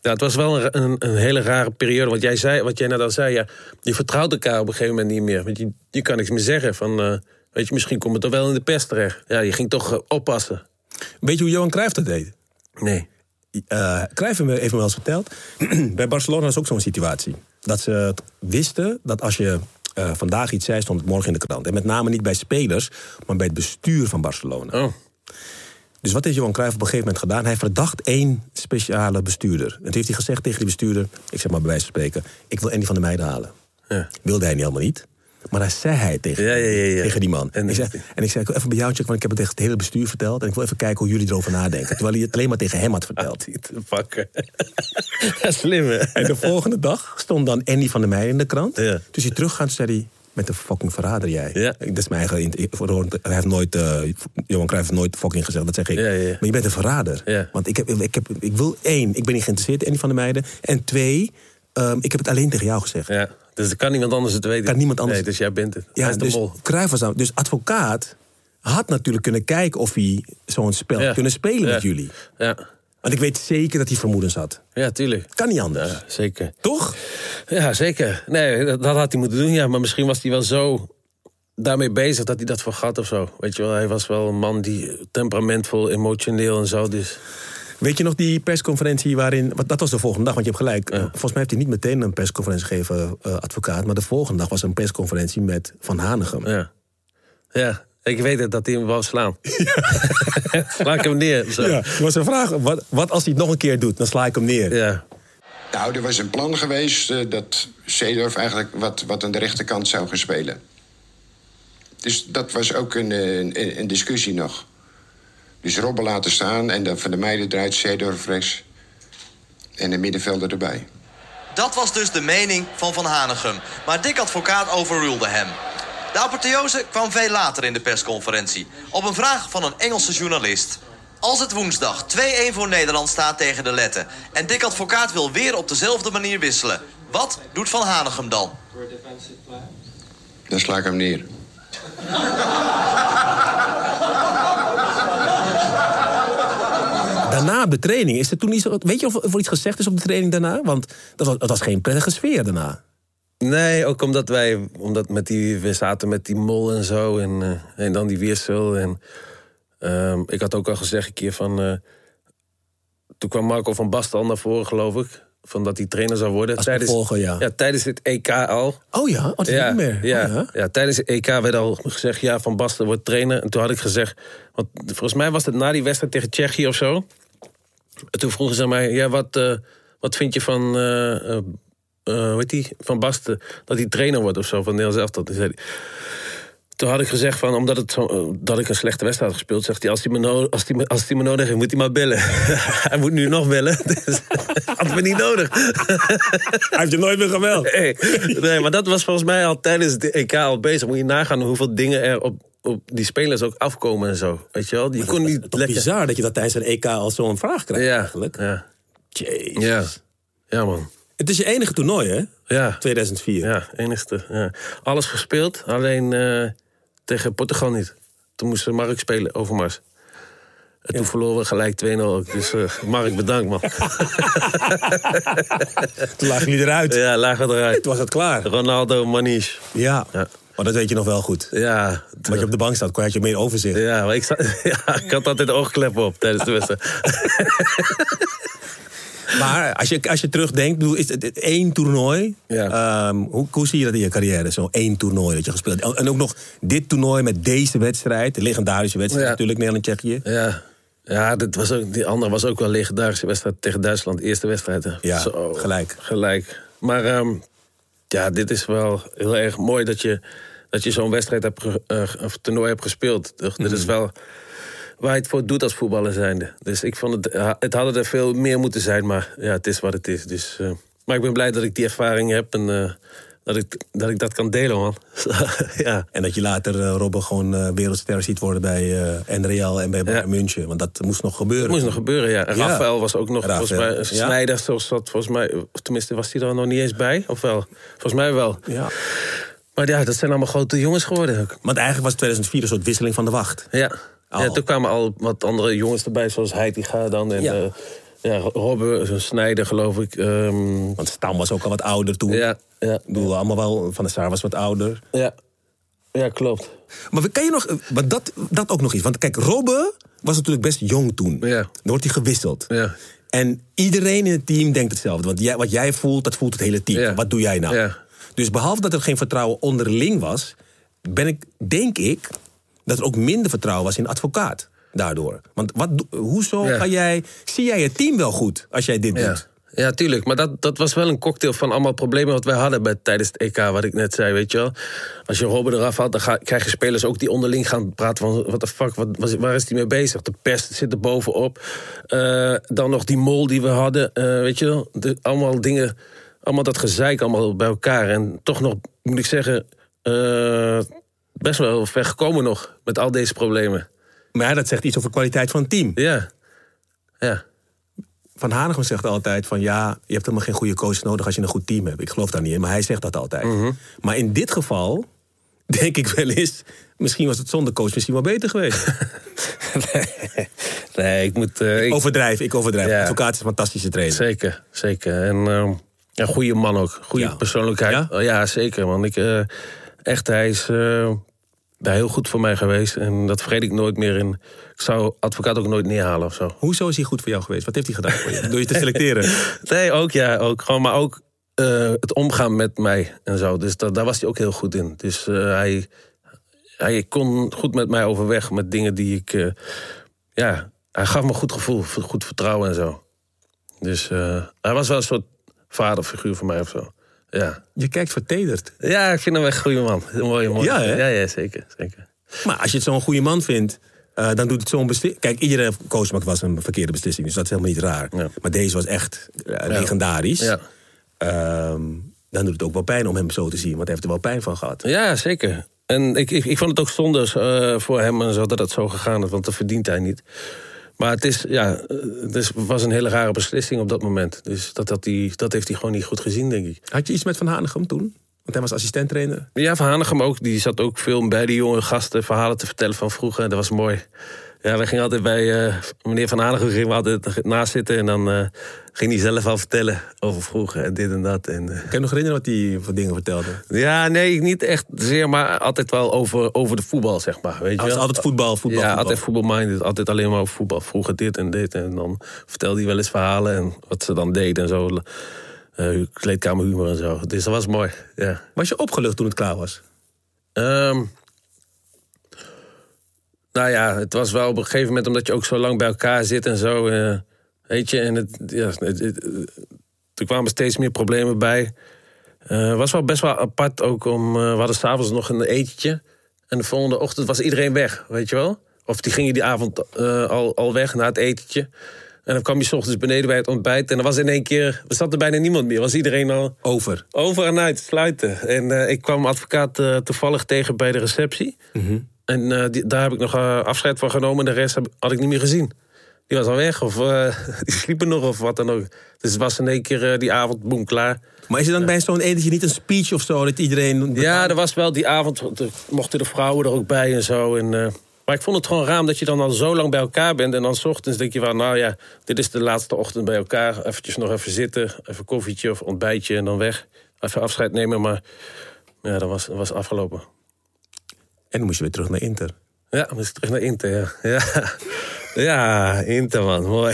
H: ja, het was wel een, ra- een, een hele rare periode. Want jij zei, wat jij net al zei, ja, je vertrouwt elkaar op een gegeven moment niet meer. Want je, je kan niks meer zeggen van... eh, Weet je, misschien komt het toch wel in de pers terecht. Ja, je ging toch eh, oppassen.
G: Weet je hoe Johan Cruijff dat deed?
H: Nee.
G: eh Cruijff heeft me- heeft me wel eens verteld. Bij Barcelona is ook zo'n situatie. Dat ze het wisten dat als je eh, vandaag iets zei, stond het morgen in de krant. En met name niet bij spelers, maar bij het bestuur van Barcelona.
H: Oh,
G: Dus wat heeft Johan Cruijff op een gegeven moment gedaan? Hij verdacht één speciale bestuurder. En toen heeft hij gezegd tegen die bestuurder, ik zeg maar bij wijze van spreken... ik wil Andy van der Meijden halen.
H: Ja.
G: Wilde hij niet helemaal niet. Maar dat zei hij tegen,
H: Ja, ja, ja, ja.
G: tegen die man. En
H: En-
G: ik, zei, en ik zei, ik wil even bij jou checken, want ik heb het tegen het hele bestuur verteld. En ik wil even kijken hoe jullie erover nadenken. Terwijl hij het alleen maar tegen hem had verteld.
H: die te pakken. Slim, hè?
G: En de volgende dag stond dan Andy van der Meijen in de krant.
H: Ja.
G: Dus hij teruggaat en zei hij... Met de fucking verrader jij.
H: Ja.
G: Dat is mijn eigen... int- voor- Hij heeft nooit... eh, Johan Cruijff heeft nooit fucking gezegd, dat zeg ik.
H: Ja, ja, ja.
G: Maar je bent een verrader.
H: Ja.
G: Want ik, heb, ik, heb, ik wil één, ik ben niet geïnteresseerd in Andy van der Meijden. En twee, ehm, ik heb het alleen tegen jou gezegd.
H: Ja, dus er kan niemand anders het weten.
G: Kan niemand anders-
H: Nee, dus jij bent het.
G: Ja,
H: Hij is de
G: dus
H: mol.
G: Cruijff was aan- Dus advocaat had natuurlijk kunnen kijken of hij zo'n spel
H: Ja.
G: had kunnen spelen
H: Ja.
G: met jullie.
H: Ja,
G: Want ik weet zeker dat hij vermoedens had.
H: ja tuurlijk.
G: Kan niet anders.
H: Ja, zeker.
G: Toch?
H: Ja, zeker. Nee, dat, dat had hij moeten doen, ja. Maar misschien was hij wel zo daarmee bezig dat hij dat vergat of zo. Weet je wel, hij was wel een man die temperamentvol, emotioneel en zo. Dus
G: Weet je nog die persconferentie waarin... want Dat was de volgende dag, want je hebt gelijk. Eh, Volgens mij heeft hij niet meteen een persconferentie gegeven, eh, advocaat. Maar de volgende dag was een persconferentie met Van Hanegem.
H: ja. Ja, ik weet het, dat hij hem wou slaan. Sla ik hem neer. of Zo.
G: Ja,
H: Ja.
G: er was een vraag. Wat, wat als hij het nog een keer doet? Dan sla ik hem neer.
H: Ja.
I: Nou, er was een plan geweest eh, dat Seedorf eigenlijk wat, wat aan de rechterkant zou gaan spelen. Dus dat was ook een, eh, een, een discussie nog. Dus Robben laten staan en dan van de meiden draait Seedorf rechts. En een middenvelder erbij.
E: Dat was dus de mening van Van Hanegem. Maar Dick Advocaat overrulde hem. De apotheose kwam veel later in de persconferentie. Op een vraag van een Engelse journalist. Als het woensdag 2-1 voor Nederland staat tegen de Letten... en Dick Advocaat wil weer op dezelfde manier wisselen... wat doet Van Hanegem dan?
I: Dan sla ik hem neer.
G: Daarna op de training, is er toen iets, weet je of er iets gezegd is op de training daarna? Want dat was, dat was geen prettige sfeer daarna.
H: Nee, ook omdat wij, omdat met die, we zaten met die mol en zo en, eh, en dan die wissel. En, ehm, ik had ook al gezegd een keer van, eh, toen kwam Marco van Basten al naar voren geloof ik. Van dat hij trainer zou worden.
G: Als opvolger, ja.
H: tijdens het EK al.
G: Oh ja, oh, dat is niet meer.
H: Ja,
G: Oh
H: ja. tijdens het EK werd al gezegd, ja, Van Basten wordt trainer. En toen had ik gezegd, want volgens mij was het na die wedstrijd tegen Tsjechië of zo. En toen vroegen ze aan mij, ja, wat, eh, wat vind je van, eh, eh, eh, hoe heet die, Van Basten? Dat hij trainer wordt of zo, van Nederlands elftal. Toen zei hij- toen had ik gezegd, van, omdat het zo, eh, dat ik een slechte wedstrijd had gespeeld... zegt hij, als hij me, no- als hij me, als hij me nodig heeft, moet hij maar bellen. hij moet nu nog bellen, dus had me niet nodig.
G: Hij heeft je nooit meer geweld.
H: Hey, nee, maar dat was volgens mij al tijdens de EK al bezig. Moet je nagaan hoeveel dingen er op, op die spelers ook afkomen en zo. Weet je wel? Je kon niet
G: Eh, Toch
H: lekker...
G: bizar dat je dat tijdens een EK al zo'n vraag krijgt
H: Ja,
G: eigenlijk.
H: ja,
G: Jezus.
H: ja. Ja, man.
G: Het is je enige toernooi hè?
H: Ja,
G: 2004.
H: ja enigste. Ja. Alles gespeeld, alleen eh, tegen Portugal niet. Toen moest Mark spelen, Overmars. En toen verloren we gelijk 2-0 ook. Dus eh, Mark, bedankt, man.
G: Toen lagen jullie eruit.
H: ja, lagen we eruit.
G: Toen was het klaar.
H: Ronaldo, Maniche.
G: Ja.
H: Ja.
G: Maar dat weet je nog wel goed.
H: Ja,
G: Wat je op de bank staat, kon je- had je meer overzicht.
H: Ja, maar ik, sta- ja, ik had altijd oogkleppen op tijdens de wedstrijd.
G: Maar als je, als je terugdenkt, bedoel, is het het één toernooi?
H: Ja.
G: Ehm, hoe, hoe zie je dat in je carrière? Zo'n één toernooi dat je gespeeld hebt. En ook nog dit toernooi met deze wedstrijd. De legendarische wedstrijd
H: Ja.
G: natuurlijk, Nederland-Tsjechië.
H: Ja, ja dat was ook, die andere was ook wel een legendarische wedstrijd tegen Duitsland. Eerste wedstrijd. hè.
G: Ja, gelijk.
H: Gelijk. Maar ehm, ja, dit is wel heel erg mooi dat je, dat je zo'n wedstrijd hebt ge- eh, of toernooi hebt gespeeld. toch? Dit
G: Mhm.
H: is wel waar je het voor doet als voetballer zijnde. Dus ik vond het, ja, het hadden er veel meer moeten zijn, maar ja, het is wat het is. Dus, eh, maar ik ben blij dat ik die ervaring heb en eh, dat, ik, dat ik dat kan delen, man. ja.
G: En dat je later eh, Robben gewoon eh, wereldster ziet worden bij eh Enreal en bij Bayern München. Want dat moest nog gebeuren.
H: Dat moest nog gebeuren, ja. En
G: Ja.
H: Rafael was ook nog,
G: Rafael,
H: volgens mij,
G: ja.
H: Snijder zoals dat, volgens mij, of tenminste was hij er nog niet eens bij, of wel? Volgens mij wel.
G: Ja.
H: Maar ja, dat zijn allemaal grote jongens geworden. ook.
G: Want eigenlijk was 2004 een soort wisseling van de wacht.
H: Ja.
G: Al.
H: ja, toen kwamen al wat andere jongens erbij, zoals Heitinga dan en
G: Ja.
H: ja. ja, Robben, zo'n Snijder geloof ik. ehm,
G: Want Stam was ook al wat ouder toen.
H: ja, ja,
G: Ik bedoel, allemaal wel. Van der Sar was wat ouder.
H: ja, ja, klopt.
G: Maar kan je nog, maar dat, dat ook nog iets. Want kijk, Robben was natuurlijk best jong toen.
H: Ja.
G: Dan wordt hij gewisseld.
H: Ja.
G: En iedereen in het team denkt hetzelfde. Want jij, wat jij voelt, dat voelt het hele team.
H: Ja.
G: Wat doe jij nou?
H: Ja.
G: Dus behalve dat er geen vertrouwen onderling was... Ben ik, denk ik dat er ook minder vertrouwen was in advocaat daardoor. Want wat, do- hoezo
H: Ja.
G: ga jij... Zie jij je team wel goed als jij dit
H: Ja.
G: doet?
H: Ja, tuurlijk. Maar dat, dat was wel een cocktail van allemaal problemen wat wij hadden bij, tijdens het EK, wat ik net zei, weet je wel. Als je Robben eraf haalt, dan ga, krijg je spelers ook die onderling gaan praten van... wat de fuck, wat, was- waar is die mee bezig? De pest zit er bovenop. Eh, dan nog die mol die we hadden, eh, weet je wel. De, allemaal dingen, allemaal dat gezeik allemaal bij elkaar. En toch nog, moet ik zeggen, eh, best wel ver gekomen nog met al deze problemen.
G: Maar ja, dat zegt iets over de kwaliteit van het team.
H: Ja, ja.
G: Van Hanegem zegt altijd van ja, je hebt helemaal geen goede coach nodig als je een goed team hebt. Ik geloof daar niet in, maar hij zegt dat altijd.
H: Mhm.
G: Maar in dit geval denk ik wel eens, misschien was het zonder coach misschien wel beter geweest.
H: nee, ik moet... eh, ik-
G: Overdrijf, ik overdrijf.
H: Ja.
G: Advocaat is een fantastische trainer.
H: Zeker, zeker. En ehm een goede man ook. Goede
G: Ja.
H: persoonlijkheid.
G: Ja?
H: Ja? zeker. Man. Ik, eh, echt, hij is eh, daar heel goed voor mij geweest. En dat vergeet ik nooit meer. En ik zou advocaat ook nooit neerhalen of zo.
G: Hoezo is hij goed voor jou geweest? Wat heeft hij gedaan voor je? Door je te selecteren?
H: Nee, ook ja. Ook, gewoon, maar ook eh, het omgaan met mij en zo. Dus dat, daar was hij ook heel goed in. Dus eh, hij, hij kon goed met mij overweg met dingen die ik... eh, ja, hij gaf me een goed gevoel, goed vertrouwen en zo. Dus eh, hij was wel een soort vaderfiguur voor mij of zo. Ja,
G: Je kijkt vertederd.
H: ja ik vind hem echt een goede man. Een mooie man.
G: Ja, hè?
H: ja, ja zeker, zeker.
G: Maar als je het zo'n goede man vindt, eh, dan doet het zo'n beslissing. Kijk, iedere coach maakt was een verkeerde beslissing, dus dat is helemaal niet raar.
H: Ja.
G: Maar deze was echt eh, legendarisch.
H: Ja.
G: Ehm, dan doet het ook wel pijn om hem zo te zien, want hij heeft er wel pijn van gehad.
H: Ja, zeker. En ik, ik, ik vond het ook zonde eh, voor hem en zo dat het zo gegaan is, want dat verdient hij niet. Maar het, is, ja, eh, het is, was een hele rare beslissing op dat moment. Dus dat, dat, die, dat heeft hij gewoon niet goed gezien, denk ik.
G: Had je iets met Van Hanegem toen? Want hij was assistenttrainer.
H: Ja, Van Hanegem ook. Die zat ook veel bij die jonge gasten verhalen te vertellen van vroeger. Dat was mooi. Ja, we gingen altijd bij eh, meneer Van Hanegem gingen we altijd naast zitten. En dan eh, ging hij zelf al vertellen over vroeger en dit en dat. En, eh,
G: Kan je nog herinneren wat hij voor dingen vertelde?
H: ja, nee, niet echt zeer, maar altijd wel over, over de voetbal, zeg maar. Weet je
G: Hij was
H: wel?
G: altijd voetbal, voetbal,
H: Ja,
G: voetbal.
H: altijd voetbalminded. Altijd alleen maar over voetbal. Vroeger dit en dit. En dan vertelde hij wel eens verhalen en wat ze dan deed en zo. Eh, kleedkamerhumor en zo. Dus dat was mooi, ja.
G: Was je opgelucht toen het klaar was?
H: Ehm, nou ja, het was wel op een gegeven moment, omdat je ook zo lang bij elkaar zit en zo. eh, weet je, en het, ja, het- het- er kwamen steeds meer problemen bij. Eh was wel best wel apart ook om. eh, we hadden s'avonds nog een etentje. En de volgende ochtend was iedereen weg, weet je wel? Of die gingen die avond eh, al, al weg na het etentje. En dan kwam je s ochtends beneden bij het ontbijt. En er was in één keer. Er zat er bijna niemand meer. Was iedereen al.
G: Over.
H: Over en uit, sluiten. En eh, ik kwam advocaat eh, toevallig tegen bij de receptie. En eh, die- daar heb ik nog eh, afscheid van genomen. En de rest heb- had ik niet meer gezien. Die was al weg of eh, die sliepen nog of wat dan ook. Dus het was in één keer eh, die avond, boem, klaar.
G: Maar is er dan bij zo'n etentje niet een speech of zo dat iedereen...
H: Ja, er was wel die avond, er mochten de vrouwen er ook bij en zo. En, eh, maar ik vond het gewoon raam dat je dan al zo lang bij elkaar bent. En dan 's ochtends denk je wel, nou ja, dit is de laatste ochtend bij elkaar. Eventjes nog even zitten, even koffietje of ontbijtje en dan weg. Even afscheid nemen, maar ja, dat was, dat was afgelopen.
G: En dan moest je weer terug naar Inter.
H: Ja, dan moest ik terug naar Inter, ja. Ja, ja Inter, man, mooi.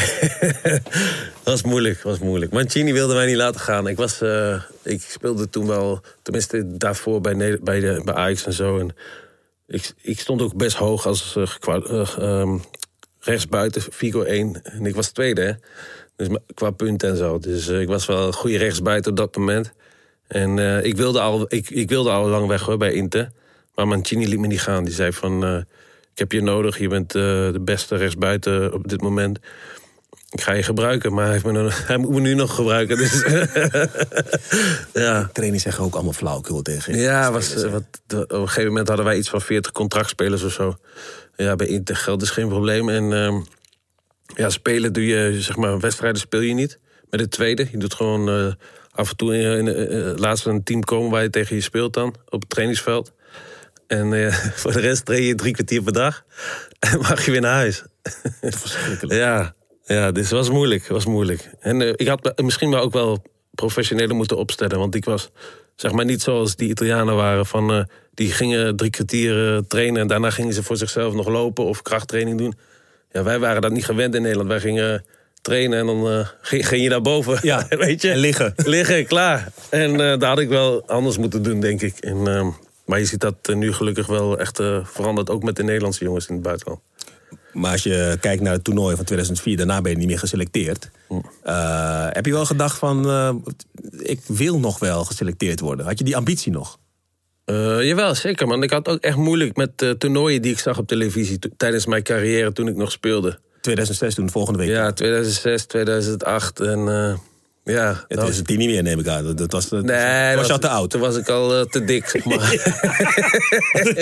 H: dat was moeilijk, was moeilijk. Mancini wilde mij niet laten gaan. Ik, was, eh, ik speelde toen wel, tenminste daarvoor bij, Neder- bij, de, bij Ajax en zo. En ik, ik stond ook best hoog als eh, gekwa- eh, ehm, rechtsbuiten, Figo 1. En ik was tweede, hè. Dus ma- qua punten en zo. Dus eh, ik was wel een goede rechtsbuiten op dat moment. En eh, ik, wilde al, ik, ik wilde al lang weg hoor, bij Inter. Maar Mancini liet me niet gaan. Die zei van, eh, ik heb je nodig. Je bent eh, de beste rechtsbuiten op dit moment. Ik ga je gebruiken, maar hij, heeft me nu- hij moet me nu nog gebruiken. Dus, ja,
G: Trainers zeggen ook allemaal flauwkul tegen je.
H: ja was, eh, wat, op een gegeven moment hadden wij iets van 40 contractspelers of zo. Ja, bij Inter geld is geen probleem. En ehm, ja, spelen doe je, zeg maar, wedstrijden speel je niet. Met de tweede. Je doet gewoon eh, af en toe in, in, eh, eh, laatst een team komen waar je tegen je speelt dan. Op het trainingsveld. En eh, voor de rest train je drie kwartier per dag. En mag je weer naar huis. ja, ja, dus het was moeilijk. het was moeilijk. En eh, ik had me- misschien wel ook wel professioneler moeten opstellen. Want ik was zeg maar niet zoals die Italianen waren. Van, eh, die gingen drie kwartier eh, trainen en daarna gingen ze voor zichzelf nog lopen of krachttraining doen. Ja, wij waren dat niet gewend in Nederland. Wij gingen eh, trainen en dan eh, ging, ging je naar boven.
G: Ja,
H: weet je.
G: en liggen.
H: Liggen, klaar. En eh, daar had ik wel anders moeten doen, denk ik. En, ehm, maar je ziet dat eh, nu gelukkig wel echt eh, veranderd. Ook met de Nederlandse jongens in het buitenland.
G: Maar als je kijkt naar het toernooi van 2004, daarna ben je niet meer geselecteerd.
H: Hm.
G: Eh, heb je wel gedacht van, eh, ik wil nog wel geselecteerd worden? Had je die ambitie nog?
H: Eh, jawel, zeker man. Ik had ook echt moeilijk met eh, toernooien die ik zag op televisie to- tijdens mijn carrière toen ik nog speelde.
G: 2006 toen, volgende week.
H: Ja, 2006, 2008 en eh, ja.
G: Het is het die niet meer, neem ik aan. Dat, dat was, dat-
H: Nee,
G: was,
H: dat
G: je al te oud.
H: Toen was ik al eh, te dik, zeg maar.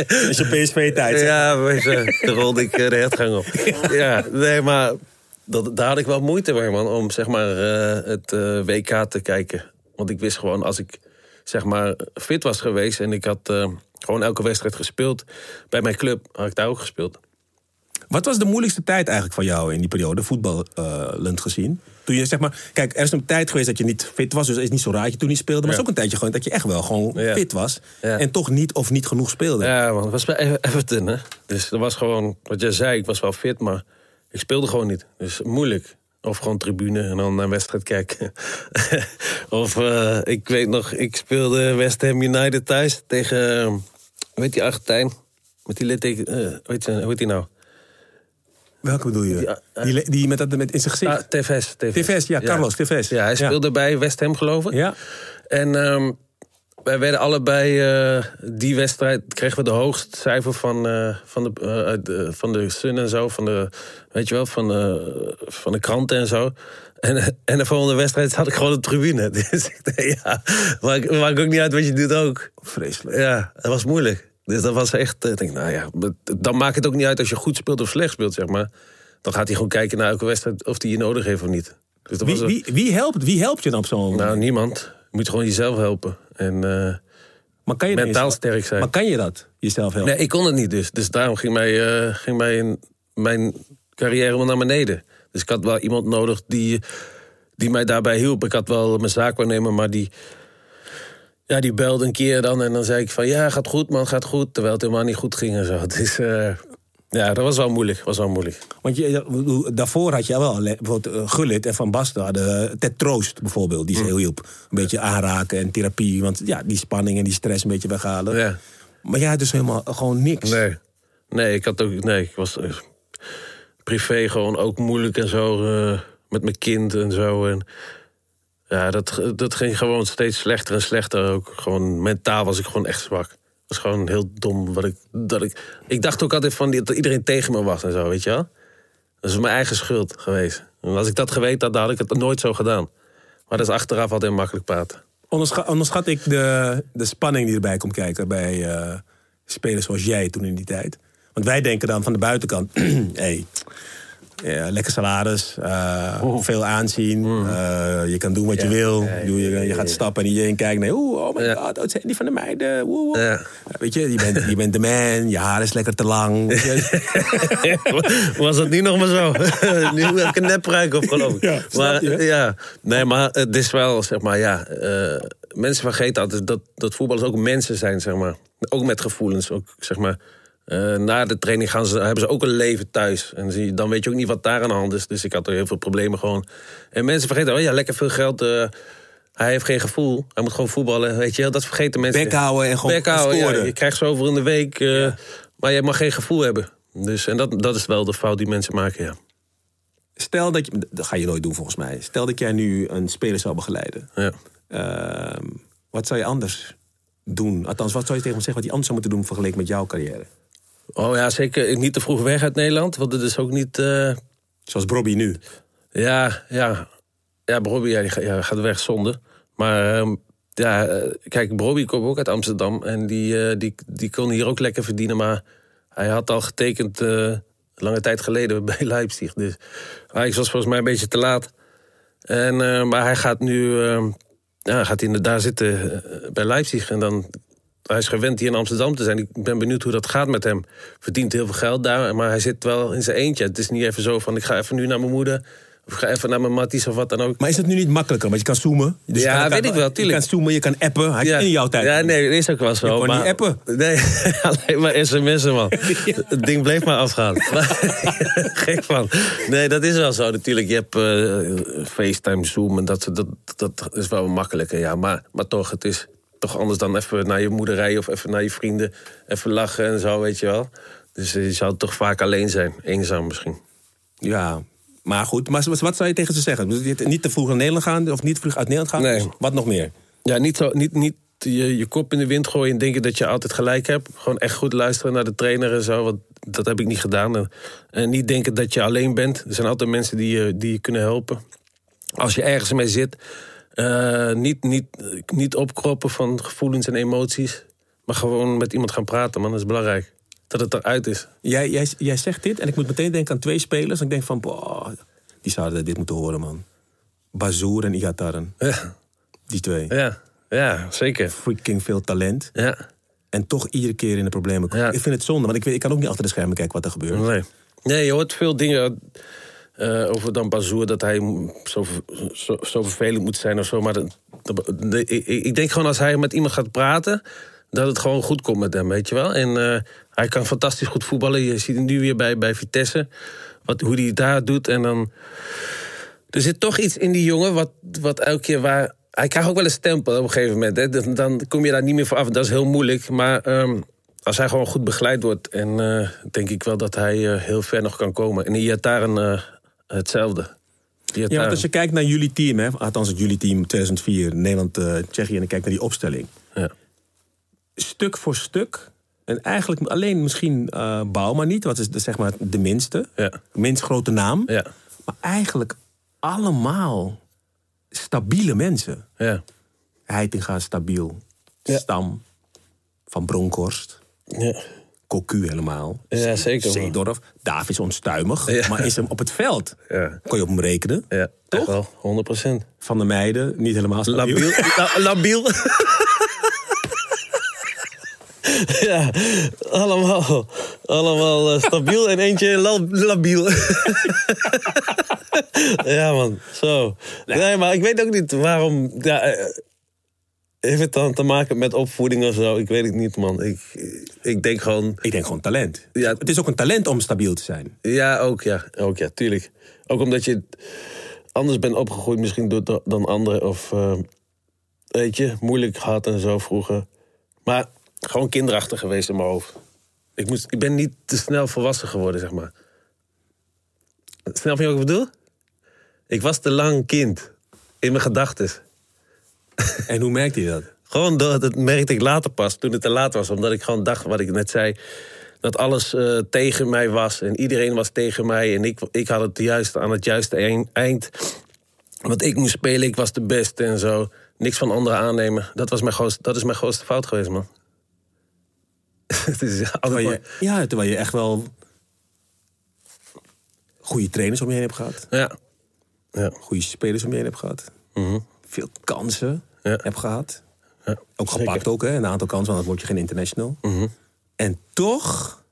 G: Dat is je PSV-tijd.
H: ja, maar, eh, toen rolde ik eh, de hertgang op. ja, nee, maar dat, daar had ik wel moeite mee, man, om zeg maar eh, het eh, WK te kijken. Want ik wist gewoon, als ik zeg maar fit was geweest en ik had eh, gewoon elke wedstrijd gespeeld, bij mijn club had ik daar ook gespeeld.
G: Wat was de moeilijkste tijd eigenlijk van jou in die periode, voetballend gezien? Toen je zeg maar, kijk, er is een tijd geweest dat je niet fit was, dus het is niet zo raar dat je toen niet speelde. Maar het is ook een tijdje gewoon dat je echt wel gewoon
H: Ja.
G: fit was.
H: Ja.
G: En toch niet of niet genoeg speelde.
H: Ja, man, het was bij Ever- Everton, hè. Dus dat was gewoon, wat jij zei, ik was wel fit, maar ik speelde gewoon niet. Dus moeilijk. Of gewoon tribune en dan naar een wedstrijd kijken. of eh, ik weet nog, ik speelde West Ham United thuis tegen, eh, hoe heet die Argentijn? Met die litteken, eh, hoe, heet, ze- hoe heet die nou?
G: Welke bedoel je? Die,
H: eh,
G: le- die met, dat- met in zijn
H: Ah,
G: gezicht.
H: Tevez.
G: Tevez, ja, Carlos Tevez.
H: Ja, hij
G: Ja.
H: speelde bij West Ham, geloof ik.
G: ja.
H: En ehm, wij werden allebei eh, die wedstrijd kregen we de hoogst cijfer van, eh, van, de, eh, uit de- van de Sun en zo, van de, weet je wel, van, de- van de kranten en zo. En, eh, en de volgende wedstrijd had ik gewoon op de tribune. Dus ik dacht, ja, maakt maakt ook niet uit wat je doet ook.
G: Vreselijk.
H: Ja, dat was moeilijk. Dus dat was echt, eh, ik denk, nou ja, dan maakt het ook niet uit als je goed speelt of slecht speelt, zeg maar. Dan gaat hij gewoon kijken naar elke wedstrijd of die je nodig heeft of niet. Dus dat
G: Wie,
H: was ook-
G: wie, wie, helpt, wie helpt je dan op zo'n moment?
H: nou, niemand. Je moet gewoon jezelf helpen. En, eh,
G: maar kan je
H: mentaal
G: dat eens-
H: sterk zijn.
G: Maar kan je dat, jezelf helpen?
H: nee, ik kon het niet dus. Dus daarom ging, mij, eh, ging mijn, mijn carrière wel naar beneden. Dus ik had wel iemand nodig die, die mij daarbij hielp. Ik had wel mijn zaak waarnemen, maar die, ja, die belde een keer dan. En dan zei ik van, ja, gaat goed man, gaat goed. Terwijl het helemaal niet goed ging en zo. Dus eh, ja, dat was wel moeilijk. Was wel moeilijk.
G: Want je, ik bedoel, daarvoor had je wel, le- bijvoorbeeld eh, Gullit en Van Basten hadden eh, Ted Troost bijvoorbeeld,
H: Mm.
G: die ze heel hielp. Een beetje aanraken en therapie, want ja, die spanning en die stress een beetje weghalen.
H: Ja.
G: Maar jij had dus helemaal eh, gewoon niks.
H: Nee. Nee, ik had ook. Nee, ik was eh, privé gewoon ook moeilijk en zo. eh, met mijn kind en zo. En, ja, dat, dat ging gewoon steeds slechter en slechter. Ook gewoon mentaal was ik gewoon echt zwak. Het was gewoon heel dom. Wat ik, dat ik, ik dacht ook altijd van die- dat iedereen tegen me was en zo, weet je wel. Dat is mijn eigen schuld geweest. En als ik dat geweten had, dan had ik het nooit zo gedaan. Maar dat is achteraf altijd makkelijk praten.
G: Onderscha- onderschat ik de, de spanning die erbij komt kijken bij eh, spelers zoals jij toen in die tijd. Want wij denken dan van de buitenkant, hey, ja, lekker salaris, eh, veel aanzien, eh, je kan doen wat je wil. Ik bedoel, je, je gaat stappen en iedereen kijkt, nee, oeh, oh my
H: Ja.
G: god, dat zijn die van de meiden. oeh, oeh.
H: Ja.
G: Weet je, je bent, je bent de man, je haar is lekker te lang. weet je.
H: Was dat nu nog maar zo? nu heb ik een neppruik op, geloof ik.
G: Ja, snap
H: maar,
G: je, hè?
H: ja, nee, maar het is wel, zeg maar, ja. eh, mensen vergeten altijd dat, dat voetballers ook mensen zijn, zeg maar. Ook met gevoelens. Ook, zeg maar, eh, na de training gaan ze, hebben ze ook een leven thuis. En zie je- dan weet je ook niet wat daar aan de hand is. Dus ik had er heel veel problemen gewoon. En mensen vergeten, oh ja, lekker veel geld. eh, hij heeft geen gevoel. Hij moet gewoon voetballen. Weet je, wel, dat vergeten mensen.
G: Bek houden en gewoon
H: Bek houden,
G: scoren.
H: ja, je krijgt zoveel in de week. eh, Maar je mag geen gevoel hebben. Dus, en dat, dat is wel de fout die mensen maken, ja.
G: Stel dat je, dat ga je nooit doen volgens mij. Stel dat jij nu een speler zou begeleiden.
H: ja.
G: Ehm, wat zou je anders doen? Althans, wat zou je tegen hem zeggen wat hij anders zou moeten doen vergeleken met jouw carrière?
H: Oh ja, zeker niet te vroeg weg uit Nederland. Want het is ook niet... eh,
G: Zoals Bobby nu.
H: Ja, ja. Ja, Bobby ja, die ga- ja, gaat weg zonde. Maar ehm, ja, eh, kijk, Bobby komt ook uit Amsterdam. En die, eh, die, die kon hier ook lekker verdienen. Maar hij had al getekend eh, lange tijd geleden bij Leipzig. Dus Ajax was volgens mij een beetje te laat. En, eh, maar hij gaat nu ehm ja, gaat hij daar zitten eh, bij Leipzig. En dan, hij is gewend hier in Amsterdam te zijn. Ik ben benieuwd hoe dat gaat met hem. Verdient heel veel geld daar, maar hij zit wel in zijn eentje. Het is niet even zo van, ik ga even nu naar mijn moeder... of ik ga even naar mijn matties of wat dan ook.
G: Maar is het nu niet makkelijker? Want je kan zoomen. Dus je
H: Ja,
G: kan elkaar-
H: weet ik wel, tuurlijk.
G: Je kan zoomen, je kan appen. Hij in jouw tijd.
H: Ja, nee, dat is ook wel zo.
G: kon
H: maar...
G: niet appen.
H: Nee, alleen maar sms'en, man. Het ding bleef maar afgaan. Maar- Gek van. Nee, dat is wel zo natuurlijk. Je hebt eh, FaceTime, Zoom en dat, soort- dat, dat is wel makkelijker, ja. Maar, maar toch, het is toch anders dan even naar je moeder rijden... of even naar je vrienden, even lachen en zo, weet je wel. Dus eh, je zou toch vaak alleen zijn, eenzaam misschien.
G: Ja, maar goed. Maar wat wat zou je tegen ze zeggen? Dus je- Niet te vroeg naar Nederland gaan of niet vroeg uit Nederland gaan?
H: Nee.
G: Dus wat nog meer?
H: Ja, niet, zo, niet, niet je, je kop in de wind gooien en denken dat je altijd gelijk hebt. Gewoon echt goed luisteren naar de trainer en zo. Want dat heb ik niet gedaan. En, en niet denken dat je alleen bent. Er zijn altijd mensen die je, die je kunnen helpen. Als je ergens mee zit, eh, niet, niet, niet opkroppen van gevoelens en emoties. Maar gewoon met iemand gaan praten, man. Dat is belangrijk. Dat het eruit is.
G: Jij, jij, jij zegt dit en ik moet meteen denken aan twee spelers. En ik denk van, boah, Die zouden dit moeten horen, man. Bazoer en Iataren.
H: Ja.
G: Die twee.
H: Ja, ja zeker.
G: Freaking veel talent.
H: Ja.
G: En toch iedere keer in de problemen komen.
H: Ja.
G: Ik vind het zonde, want ik, weet, ik kan ook niet achter de schermen kijken wat er gebeurt.
H: Nee. nee, je hoort veel dingen eh, over dan Bazoer dat hij zo, ver- zo, zo vervelend moet zijn of zo. Maar dat- dat- nee, ik, ik denk gewoon als hij met iemand gaat praten, dat het gewoon goed komt met hem, weet je wel. En eh, hij kan fantastisch goed voetballen. Je ziet hem nu weer bij, bij Vitesse, wat, hoe hij het daar doet. En dan. Er zit toch iets in die jongen wat, wat elke keer waar. Hij krijgt ook wel een stempel op een gegeven moment. Hè. Dan- Dan kom je daar niet meer voor af. Dat is heel moeilijk. Maar ehm, als hij gewoon goed begeleid wordt, en, eh, denk ik wel dat hij eh, heel ver nog kan komen. En Iataren eh hetzelfde.
G: Ja, want
H: Iataren,
G: als je kijkt naar jullie team, hè, althans het jullie team 2004, Nederland, eh, Tsjechië, en dan kijkt naar die opstelling.
H: ja.
G: Stuk voor stuk, en eigenlijk alleen misschien eh Bouwma niet, wat is de, zeg maar de minste,
H: Ja.
G: minst grote naam.
H: Ja.
G: Maar eigenlijk allemaal stabiele mensen.
H: Ja.
G: Heitinga stabiel,
H: Ja.
G: Stam, Van Bronkhorst,
H: Ja.
G: Cocu helemaal.
H: Ja, zeker, man.
G: Zeedorf, Daaf is onstuimig,
H: Ja.
G: maar is hem op het veld.
H: Ja.
G: Kon je op hem rekenen.
H: ja.
G: Toch?
H: Echt wel, 100 procent.
G: Van de meiden, niet helemaal stabiel.
H: Labiel. La- labiel. ja, allemaal. Allemaal eh, stabiel en eentje lab- labiel. ja, man. Zo. Nee, maar ik weet ook niet waarom. Ja, eh, heeft het dan te maken met opvoeding of zo? Ik weet het niet, man. Ik, ik denk gewoon.
G: Ik denk gewoon talent.
H: Ja.
G: Het is ook een talent om stabiel te zijn.
H: Ja, ook ja. Ook ja, tuurlijk. Ook omdat je anders bent opgegroeid misschien door- door- dan anderen. Of eh, weet je, moeilijk gehad en zo vroeger. Maar gewoon kinderachtig geweest in mijn hoofd. Ik, moest, ik ben niet te snel volwassen geworden, zeg maar. Snel van je wat ik bedoel? Ik was te lang kind. In mijn gedachten.
G: En hoe merkte je dat?
H: Gewoon dat, dat merkte ik later pas, toen het te laat was. Omdat ik gewoon dacht, wat ik net zei, dat alles eh, tegen mij was. En iedereen was tegen mij. En ik, ik had het juist aan het juiste eind- eind. Want ik moest spelen, ik was de beste en zo. Niks van anderen aannemen. Dat, was mijn grootste, dat is mijn grootste fout geweest, man. het is altijd
G: Terwijl
H: maar-
G: je, ja, terwijl je echt wel goede trainers om je heen hebt gehad.
H: Ja. Ja.
G: Goede spelers om je heen hebt gehad. Veel kansen
H: Mhm. Ja.
G: hebt gehad.
H: ja.
G: Ook
H: Zeker. Mhm.
G: gepakt ook, hè. Een aantal kansen, want dan word je geen international. En toch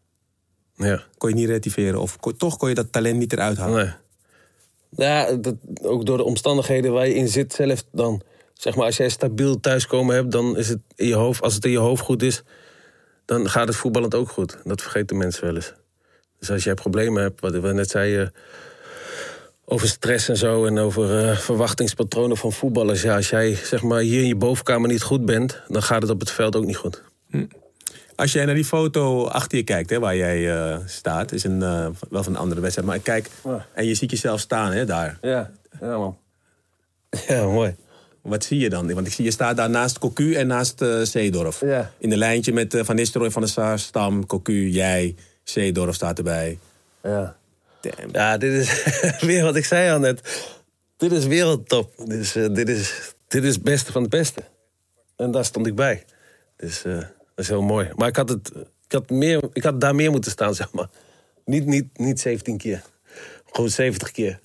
H: Ja.
G: kon je niet retiveren. Of kon- toch kon je dat talent niet eruit halen.
H: Nee. Ja, dat, ook door de omstandigheden waar je in zit zelf dan. Zeg maar, als jij stabiel thuiskomen hebt, dan is het in je hoofd... Als het in je hoofd goed is, dan gaat het voetballend ook goed. Dat vergeten mensen wel eens. Dus als jij problemen hebt, wat we net zeiden... Over stress en zo en over eh, verwachtingspatronen van voetballers. Ja, als jij zeg maar, hier in je bovenkamer niet goed bent, dan gaat het op het veld ook niet goed.
G: Als jij naar die foto achter je kijkt, hè, waar jij eh, staat, is een, eh, wel van een andere wedstrijd. Maar kijk,
H: Ja.
G: en je ziet jezelf staan hè, daar.
H: Ja, ja man. Ja, mooi.
G: Wat zie je dan? Want ik zie je staat daar naast Cocu en naast eh, Zeedorf.
H: Ja.
G: In de lijntje met eh, Van Nistelrooy, Van der Sar, Stam, Cocu, jij, Zeedorf staat erbij.
H: Ja.
G: Damn.
H: Ja, dit is weer wat ik zei al net. Dit is wereldtop. Dit is, eh, dit is, dit is het beste van het beste. En daar stond ik bij. Dus eh, dat is heel mooi. Maar ik had, het, ik, had meer, ik had daar meer moeten staan, zeg maar. Niet, niet, niet 17 keer. Gewoon 70 keer.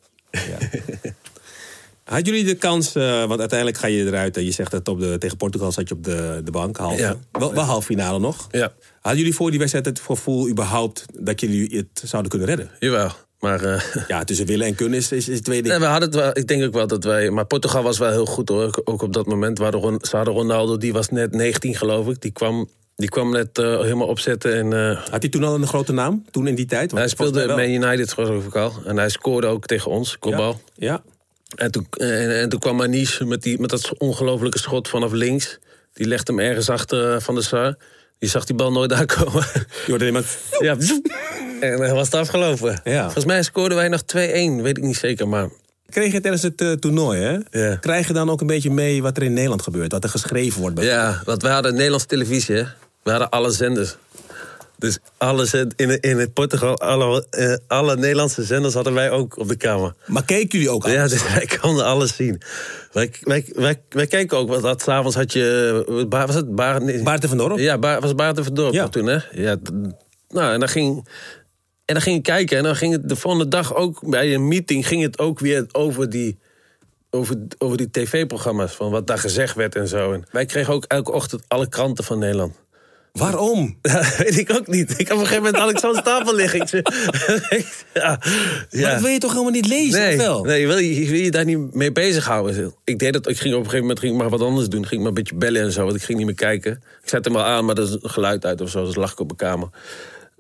G: Had jullie de kans, eh, want uiteindelijk ga je eruit en je zegt dat op de, tegen Portugal zat je op de, de bank, halve.
H: Ja.
G: Wel, wel halve finale nog.
H: Ja.
G: Hadden jullie voor die wedstrijd het gevoel überhaupt dat jullie het zouden kunnen redden?
H: Jawel. Maar eh,
G: Ja, tussen willen en kunnen is, is, is twee dingen.
H: Nee, we hadden het wel, ik denk ook wel dat wij. Maar Portugal was wel heel goed hoor. Ook- Ook op dat moment. Waar de, Ron- ze hadden Ronaldo, die was net 19 geloof ik. Die kwam, die kwam net eh, helemaal opzetten. En, eh,
G: Had hij toen al een grote naam? Toen in die tijd? Want
H: hij
G: volgens
H: speelde
G: mij
H: Man
G: wel.
H: United geloof ik al. En hij scoorde ook tegen ons, kopbal.
G: Ja.
H: En toen, en, en toen kwam Maniche met, die, met dat ongelofelijke schot vanaf links. Die legde hem ergens achter eh, Van de Sar. Die zag die bal nooit aankomen.
G: Je hoorde alleen maar-
H: ja, en dan was het afgelopen.
G: Ja.
H: Volgens mij scoorden wij nog 2-1, weet ik niet zeker. Maar
G: Kreeg je tijdens het eh, toernooi, hè?
H: Ja.
G: Krijg je dan ook een beetje mee wat er in Nederland gebeurt? Wat er geschreven wordt? bij-
H: ja, want wij hadden Nederlandse televisie, hè. We hadden alle zenders. Dus alle zend, in, in het Portugal, alle, eh, alle Nederlandse zenders hadden wij ook op de kamer.
G: Maar keken jullie ook al?
H: Ja, dus wij konden alles zien. Wij, wij, wij, wij kijken ook, want dat, s'avonds had je... eh, Ba- Was het Baar, nee.
G: Baarten van Dorp?
H: Ja, Baar, was Baarten van Dorp
G: Ja.
H: toen, hè? Ja, d- nou, en dan ging... En dan ging ik kijken en dan ging het de volgende dag ook bij een meeting ging het ook weer over die, over, over die tv-programma's. Van wat daar gezegd werd en zo. En wij kregen ook elke ochtend alle kranten van Nederland.
G: Waarom?
H: Ja, weet ik ook niet. Ik heb op een gegeven moment Alexander Stapel liggen. Ik zeg- ja,
G: Maar dat
H: ja.
G: wil je toch helemaal niet lezen?
H: Nee,
G: of wel?
H: nee wil, je, wil je daar niet mee bezighouden? Ik deed dat. Ik ging op een gegeven moment ging ik maar wat anders doen. Ging ik maar een beetje bellen en zo. Want ik ging niet meer kijken. Ik zette hem al aan, maar dat is een geluid uit of zo. Dus lag ik op mijn kamer.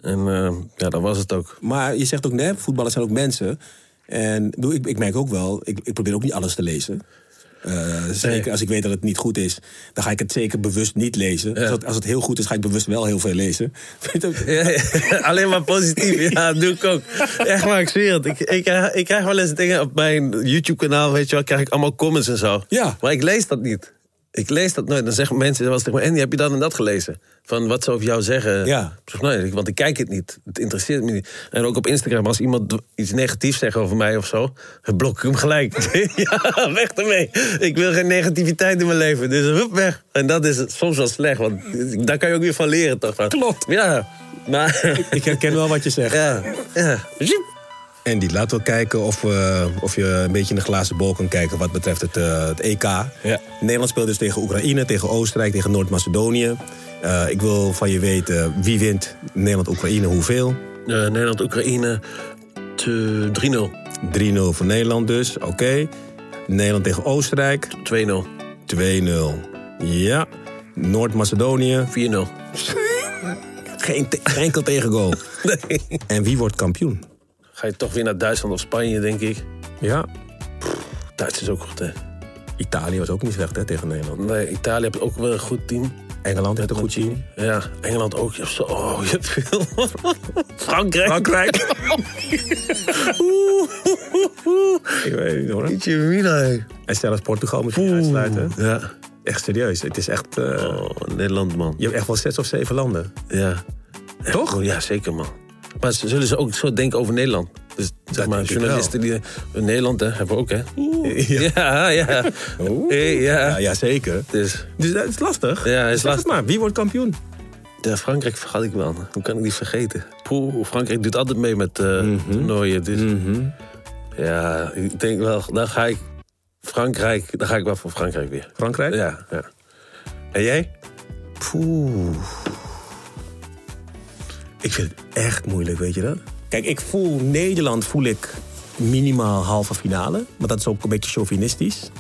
H: En eh, ja, dat was het ook.
G: Maar je zegt ook, nee, voetballers zijn ook mensen. En ik bedoel, ik, ik merk ook wel, ik, ik probeer ook niet alles te lezen. Eh, zeker als ik weet dat het niet goed is, dan ga ik het zeker bewust niet lezen. Als, het, als het heel goed is, ga ik bewust wel heel veel lezen. Vind je dat-
H: Ja, ja, alleen maar positief. Ja, dat doe ik ook. Echt waar, ik zweer het. Ik, ik, ik krijg wel eens dingen op mijn YouTube-kanaal, weet je wel, krijg ik allemaal comments en zo.
G: Ja.
H: Maar ik lees dat niet. Ik lees dat nooit. Dan zeggen mensen wel eens tegen me, Andy, heb je dan en dat gelezen? Van wat ze over jou zeggen.
G: Ja.
H: Ik zeg, nee, want ik kijk het niet. Het interesseert me niet. En ook op Instagram, als iemand iets negatiefs zegt over mij of zo, dan blok ik hem gelijk. ja, weg ermee. Ik wil geen negativiteit in mijn leven. Dus hup, weg. En dat is soms wel slecht, want daar kan je ook weer van leren, toch?
G: Klopt.
H: Ja, maar...
G: Ik herken wel wat je zegt.
H: Ja, ja.
G: Andy, laten we kijken of, we- of je een beetje in de glazen bol kan kijken wat betreft het, eh, het EK. Nederland speelt dus tegen Oekraïne, tegen Oostenrijk, tegen Noord-Macedonië. Eh, ik wil van je weten, wie wint Nederland-Oekraïne, hoeveel?
H: Nederland-Oekraïne 3-0,
G: 3-0 voor Nederland dus, oké. Nederland tegen Oostenrijk,
H: 2-0,
G: 2-0. Ja. Noord-Macedonië,
H: 4-0.
G: geen, te- geen enkel tegengoal. En wie wordt kampioen?
H: Ga je toch weer naar Duitsland of Spanje, denk ik.
G: Ja.
H: Duits is ook goed, hè?
G: Italië was ook niet slecht hè, tegen Nederland.
H: Nee, Italië heeft ook wel een goed team.
G: Engeland heeft een goed team.
H: Ja, Engeland ook. Je hebt zo, oh, je hebt veel. Frankrijk.
G: Frankrijk.
H: Oeh, oeh, oeh.
G: Ik weet het niet hoor.
H: Ietsje mina, hè.
G: En zelfs Portugal moet je uitsluiten.
H: Ja.
G: Echt serieus. Het is echt, eh,
H: Oh, Nederland, man.
G: je hebt echt wel zes of zeven landen.
H: Ja.
G: Toch?
H: Oh, ja, zeker man. Maar ze- zullen ze ook zo denken over Nederland? Dus zeg maar,
G: denk ik
H: journalisten die... in Nederland hè, hebben we ook, hè?
G: Ja.
H: Ja, ja.
G: Oeh.
H: Eh, ja.
G: Nou Ja, ja, zeker.
H: Dus
G: Dus dat is lastig.
H: Ja, is
G: Zeg het
H: lastig.
G: maar, wie wordt kampioen?
H: ja, Frankrijk vergat ik wel. Hoe kan ik die vergeten? Poeh, Frankrijk doet altijd mee met eh toernooien. Dus. Ja, ik denk wel, dan ga ik Frankrijk, dan ga ik wel voor Frankrijk weer.
G: Frankrijk?
H: Ja, ja. En jij?
G: Poeh. Ik vind het echt moeilijk, weet je dat? Kijk, ik voel Nederland voel ik minimaal halve finale. Maar dat is ook een beetje chauvinistisch.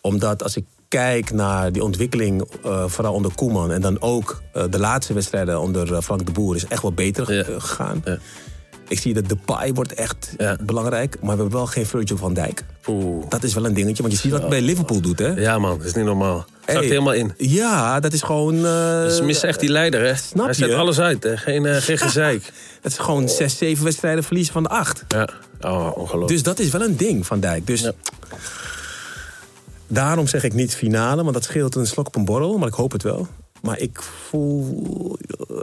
G: Omdat als ik kijk naar die ontwikkeling, eh, vooral onder Koeman... en dan ook eh, de laatste wedstrijden onder eh, Frank de Boer... is echt wel beter
H: Ja.
G: eh, gegaan.
H: Ja.
G: Ik zie dat Depay wordt echt
H: Ja.
G: belangrijk. Maar we hebben wel geen Virgil van Dijk.
H: Poeh.
G: Dat is wel een dingetje, want je ziet wat hij bij Liverpool doet, hè?
H: Ja man, dat is niet normaal. Zakt
G: Hey.
H: helemaal in.
G: Ja, dat is gewoon... eh,
H: Ze missen echt die leider, hè?
G: Snap
H: Hij zet
G: je?
H: alles uit, hè? Geen, eh, geen gezeik.
G: Dat is gewoon zes, zeven wedstrijden verliezen van de acht.
H: Ja, oh, ongelooflijk.
G: Dus dat is wel een ding van Dijk. Dus
H: Ja.
G: daarom zeg ik niet finale, want dat scheelt een slok op een borrel. Maar ik hoop het wel. Maar ik voel eh,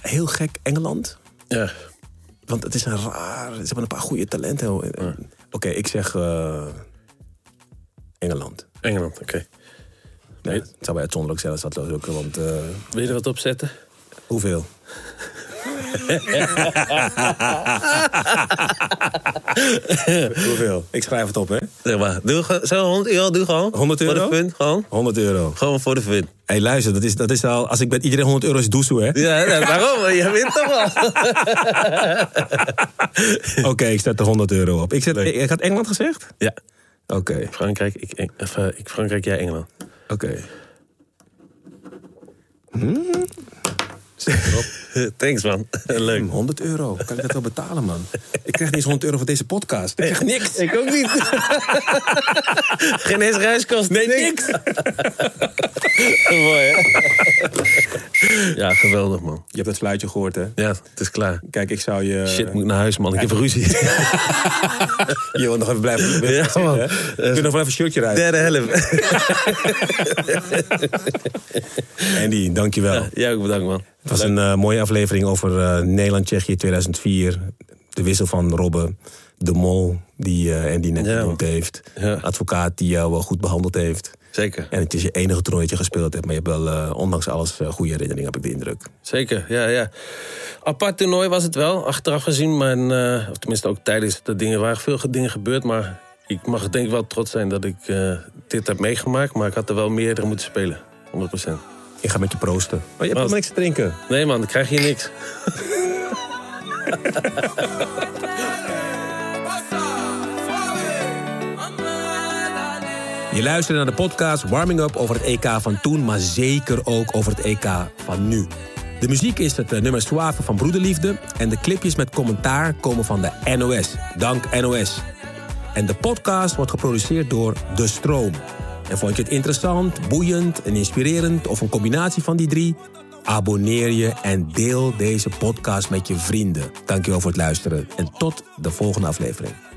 G: heel gek Engeland.
H: ja.
G: Want het is een raar... Ze hebben een paar goede talenten. Oké, ik zeg eh, Engeland.
H: Engeland, oké.
G: Nee, het zou bij uitzonderlijk zelfs dat lukken, want... eh,
H: Wil je er wat op zetten?
G: hoeveel? hoeveel? Ik schrijf het op, hè?
H: Zeg maar, doe gewoon, zo 100 euro, doe gewoon.
G: 100
H: Voor
G: euro?
H: de fun, gewoon.
G: 100 euro.
H: Gewoon voor de fun.
G: Hé, hey, luister, dat is, dat is al. Als ik met iedereen 100 euro is doezoe, hè?
H: Ja, nou, daarom, je wint toch wel.
G: Oké, ik zet er 100 euro op. Ik, zet, ik, ik had Engeland gezegd?
H: Ja,
G: Oké,
H: Frankrijk, ik, Eng- of, eh, ik, Frankrijk jij Engeland.
G: oké.
H: Thanks man, leuk.
G: Hm, 100 euro. Kan ik dat wel betalen, man? Ik krijg niet eens 100 euro voor deze podcast. Ik krijg niks.
H: Ik ook niet. Geen eens reiskost. Nee, niks. Mooi hè? Ja, geweldig man.
G: Je hebt dat fluitje gehoord, hè?
H: Ja, het is klaar.
G: Kijk, ik zou je.
H: Shit, moet ik naar huis man, ik heb ruzie.
G: Je wil nog even blijven.
H: Ja,
G: blijven zitten,
H: man.
G: hè? Je kunt nog wel even een shirtje rijden.
H: Derde helft.
G: Andy, dankjewel.
H: Ja, ook bedankt man.
G: Het was een eh, mooie aflevering over eh, Nederland-Tsjechië 2004. de wissel van Robben, de mol die, eh, en die net
H: Ja.
G: genoemd heeft.
H: Ja.
G: Advocaat die jou wel goed behandeld heeft.
H: Zeker.
G: En het is je enige toernooi dat je gespeeld hebt. Maar je hebt wel, eh, ondanks alles, eh, goede herinneringen, heb ik de indruk.
H: Zeker, ja, ja. Apart toernooi was het wel, achteraf gezien. Maar, eh, of tenminste ook tijdens de dingen waren veel ge- dingen gebeurd. Maar ik mag denk ik wel trots zijn dat ik eh, dit heb meegemaakt. Maar ik had er wel meerdere moeten spelen, 100%.
G: Ik ga met je proosten. Oh, je hebt
H: Wat?
G: helemaal niks te drinken.
H: Nee man, dan krijg je niks.
G: Je luistert naar de podcast Warming Up over het EK van toen, maar zeker ook over het EK van nu. De muziek is het eh, nummer Suave van Broederliefde en de clipjes met commentaar komen van de NOS. Dank NOS. En de podcast wordt geproduceerd door De Stroom. En vond je het interessant, boeiend en inspirerend of een combinatie van die drie? Abonneer je en deel deze podcast met je vrienden. Dankjewel voor het luisteren en tot de volgende aflevering.